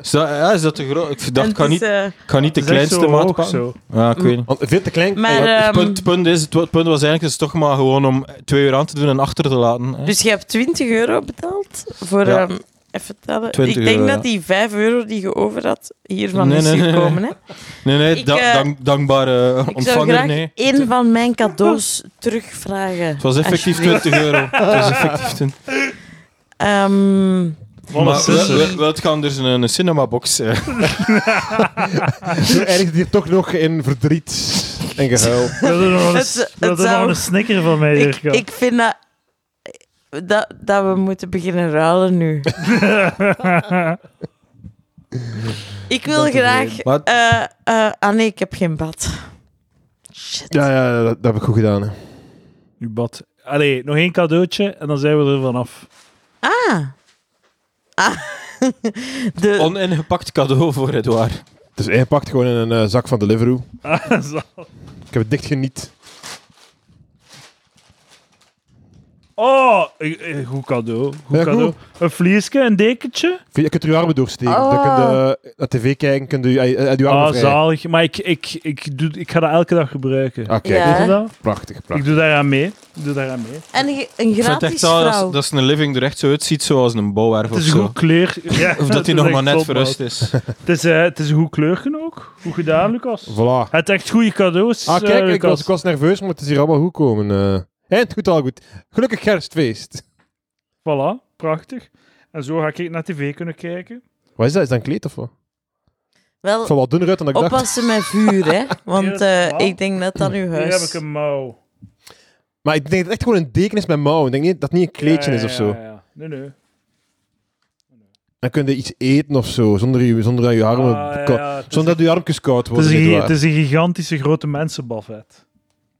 S4: Is dat, ja, is <laughs> dat te groot? Ik
S3: En
S4: dacht, ik
S3: het
S4: ga
S3: is,
S4: niet,
S3: eh,
S4: ik ga niet de
S1: Het is echt
S4: kleinste
S1: zo
S4: maat
S1: hoog,
S4: pakken.
S1: zo.
S4: Ja, ik weet niet.
S2: want Veel te <laughs> klein.
S3: Maar,
S2: Eh,
S4: Het
S3: ehm,
S4: punt, het punt is, het wa- het punt was eigenlijk is het toch maar gewoon om twee uur aan te doen en achter te laten. Hè.
S3: dus je hebt 20 euro betaald voor...
S4: Ja.
S3: ehm, even tellen.
S4: 20
S3: ik denk
S4: euro, ja.
S3: dat die 5 euro die je over had, hiervan
S4: Nee,
S3: is
S4: nee, nee, nee.
S3: gekomen,
S4: <laughs>
S3: hè.
S4: nee, nee,
S3: ik,
S4: da-
S3: eh,
S4: dank- dankbare eh,
S3: Ik zou
S4: ontvanger,
S3: graag
S4: nee.
S3: één van mijn cadeaus terugvragen.
S4: Het was effectief
S3: alsjeblieft.
S4: 20 euro. Het was effectief 20
S3: Ehm,
S1: Wat een
S4: Maar we,
S1: sisser.
S4: we, we- het gaan dus een, een cinemabox. eh.
S2: Zo eindigt het hier toch nog in verdriet. en gehuil.
S1: Wil je nog een-
S3: Het- het
S1: wil je nog
S3: zou-
S1: een snicker van mij,
S3: Ik,
S1: Jurka? <laughs>
S3: ik vind dat, dat, dat we moeten beginnen ruilen nu. Ik wil
S1: Dat is
S3: graag...
S4: Wat?
S3: eh, eh, ah nee, ik heb geen bad. Shit.
S2: Ja, ja dat, dat heb ik goed gedaan. Hè.
S1: Uw bad. Allee, nog één cadeautje en dan zijn we er vanaf. <laughs>
S3: Ah. Ah. <laughs> De,
S4: Oningepakt cadeau voor Edouard.
S2: Dus hij pakt gewoon in een eh, zak van Deliveroo.
S1: Ah, zo.
S2: Ik heb het dicht geniet.
S1: Oh, eh, eh, goed cadeau. Goed
S2: Ja,
S1: cadeau.
S2: goed.
S1: Een vliesje, een dekentje.
S2: Je kunt er je armen doorsteken. Dan
S3: Ah.
S2: kun je eh, naar tv kijken, kun je eh, eh, je armen
S1: Ah,
S2: vrij.
S1: zalig. Maar ik, ik, ik, doe, ik ga dat elke dag gebruiken.
S2: Ah, kijk.
S3: Ja.
S1: Weet je dat?
S2: Prachtig,
S1: Ik
S2: prachtig.
S1: doe daaraan mee. Ik doe daaraan mee.
S3: en ge- een
S4: Ik vind het
S3: gratis
S4: echt zo,
S3: vrouw.
S4: dat, dat is een living er echt zo uitziet zoals een bouwwerf
S1: Het
S4: of
S1: is een
S4: zo.
S1: goed kleur. Ja,
S4: Of
S1: <laughs> het
S4: dat
S1: is
S4: hij nog
S1: echt
S4: maar net
S1: zot,
S4: verrust
S1: maat.
S4: is.
S1: Het is, eh, het is een goed kleurgen ook. Goed gedaan, Lucas.
S2: Voilà.
S1: Het echt goede cadeaus.
S2: Ah,
S1: eh,
S2: kijk, ik
S1: Lucas.
S2: was, ik was nerveus, maar het is hier allemaal goed komen. eh. En het goed al goed. Gelukkig kerstfeest.
S1: Voilà, prachtig. En zo ga ik naar tv kunnen kijken.
S2: Wat is dat? Is dat een kleed of wat?
S3: Wel,
S2: Van wat dunner uit dan ik dacht.
S3: oppassen met vuur,
S4: <laughs>
S3: hè. Want
S1: Ja,
S3: eh,
S1: wauw.
S3: ik denk dat dat uw
S1: Hier heb
S3: huis...
S1: ik een mouw.
S2: Maar ik denk dat het echt gewoon een deken is met mouwen. Ik denk niet dat het niet een kleedje
S1: Ja,
S2: is
S1: ja,
S2: of zo.
S1: ja, ja. Nee, nee.
S2: Dan kun je iets eten of zo, zonder, je, zonder dat je armen...
S1: Ah, ja,
S2: ko-
S1: ja, het is-
S2: Zonder dat je armpjes
S1: Het
S2: koud
S1: is,
S2: worden.
S1: een, gi-
S2: nietwaar?
S1: het is een gigantische grote mensenbuffet.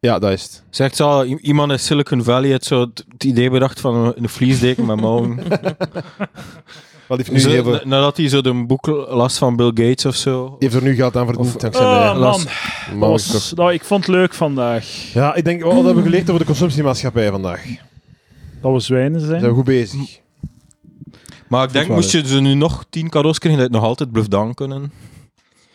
S2: Ja, dat is het.
S4: Zegt zo, i- iemand in Silicon Valley heeft zo het, het idee bedacht van een, een vliesdeken
S1: <laughs>
S4: met mouwen.
S2: Wel, die heeft, nu
S4: Zo,
S2: heel veel-
S4: na-
S2: die
S4: nadat hij zo de boek las van Bill Gates of zo.
S2: heeft er nu geld aan
S4: Of-
S2: verdiend. dankzij mij.
S1: Oh man,
S4: Las-
S1: dat
S2: Maar ik
S1: was,
S2: toch-
S1: nou, ik vond het leuk vandaag.
S2: Ja, ik denk, wat hebben we geleerd over de consumptiemaatschappij vandaag?
S1: Dat we zwijnen zijn.
S2: Zijn we goed bezig?
S4: Maar ik denk,
S2: waar,
S4: moest je ze nu nog tien cadeaus krijgen, dat je het nog altijd bluff down kunnen.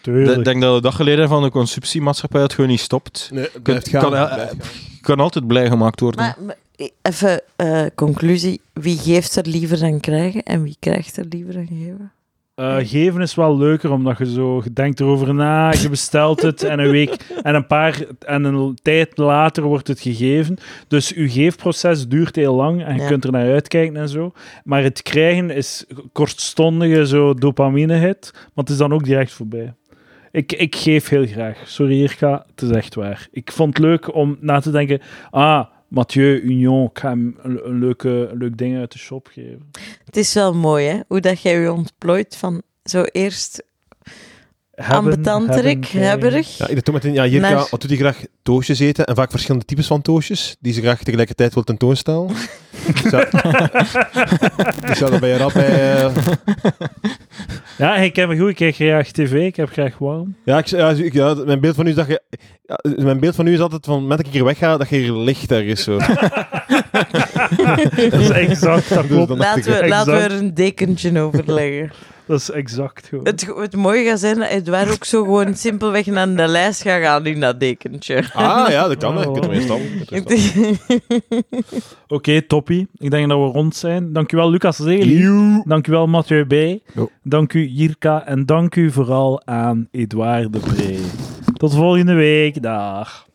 S1: Tuurlijk.
S4: Ik denk dat de dag geleden van de consumptiemaatschappij het gewoon niet stopt.
S2: Nee, het
S4: blijft gaan, kan- het blijft Je kan altijd blij gemaakt worden.
S3: Maar, maar, eh, even eh, conclusie. Wie geeft er liever dan krijgen? En wie krijgt er liever dan geven?
S1: Eh, geven is wel leuker, omdat je zo je denkt erover na, je bestelt het en een week en een paar en een tijd later wordt het gegeven. Dus je geefproces duurt heel lang en je
S3: Ja.
S1: kunt er naar uitkijken en zo. Maar het krijgen is kortstondige zo dopamine-hit, want het is dan ook direct voorbij. Ik, ik geef heel graag. Sorry, Irka, het is echt waar. Ik vond het leuk om na te denken, ah, Mathieu, Union, ik ga hem een, een leuke, een leuk ding uit de shop geven.
S3: <laughs> Het is wel mooi, hè? Hoe dat jij je ontplooit van zo eerst ambetanterik,
S1: hebben,
S3: <laughs>
S1: krijgen.
S3: hebberig.
S2: Ja, ik doe meteen, ja, Jirka,
S3: Naar-
S2: wat doet hij graag? Toosjes eten en vaak verschillende types van toosjes, die ze graag tegelijkertijd wil tentoonstellen. dus ja, dus ja, dan ben je rap bij... eh,
S1: Ja, ik heb een goed. Ik kijk graag tv, ik heb graag warm.
S2: Ja, ik, ja, ik- ja, mijn beeld van u is dat je... ja, mijn beeld van u is altijd van, met dat ik hier wegga, dat je hier ligt ergens zo.
S1: <laughs> Dat is exact, dat
S2: Dus
S1: klopt.
S2: dan dacht ik,
S3: Laten we, laten we
S1: Exact.
S3: er een dekentje over
S2: <laughs>
S3: leggen.
S1: Dat is exact gewoon.
S3: Het, go- het mooie gaat zijn dat Edouard ook zo gewoon simpelweg naar de lijst gaat gaan in dat dekentje.
S2: Ah, ja, dat kan. hè. Je kunt ermee stappen. Je kunt ermee stappen.
S3: <laughs>
S1: Oké, toppie. Ik denk dat we rond zijn. Dank u wel, Lucas Zeli. Dank u wel, Mathieu B.
S2: Jo.
S1: Dank u, Jirka. En dank u vooral aan Edouard de Pre. Tot volgende week. Dag.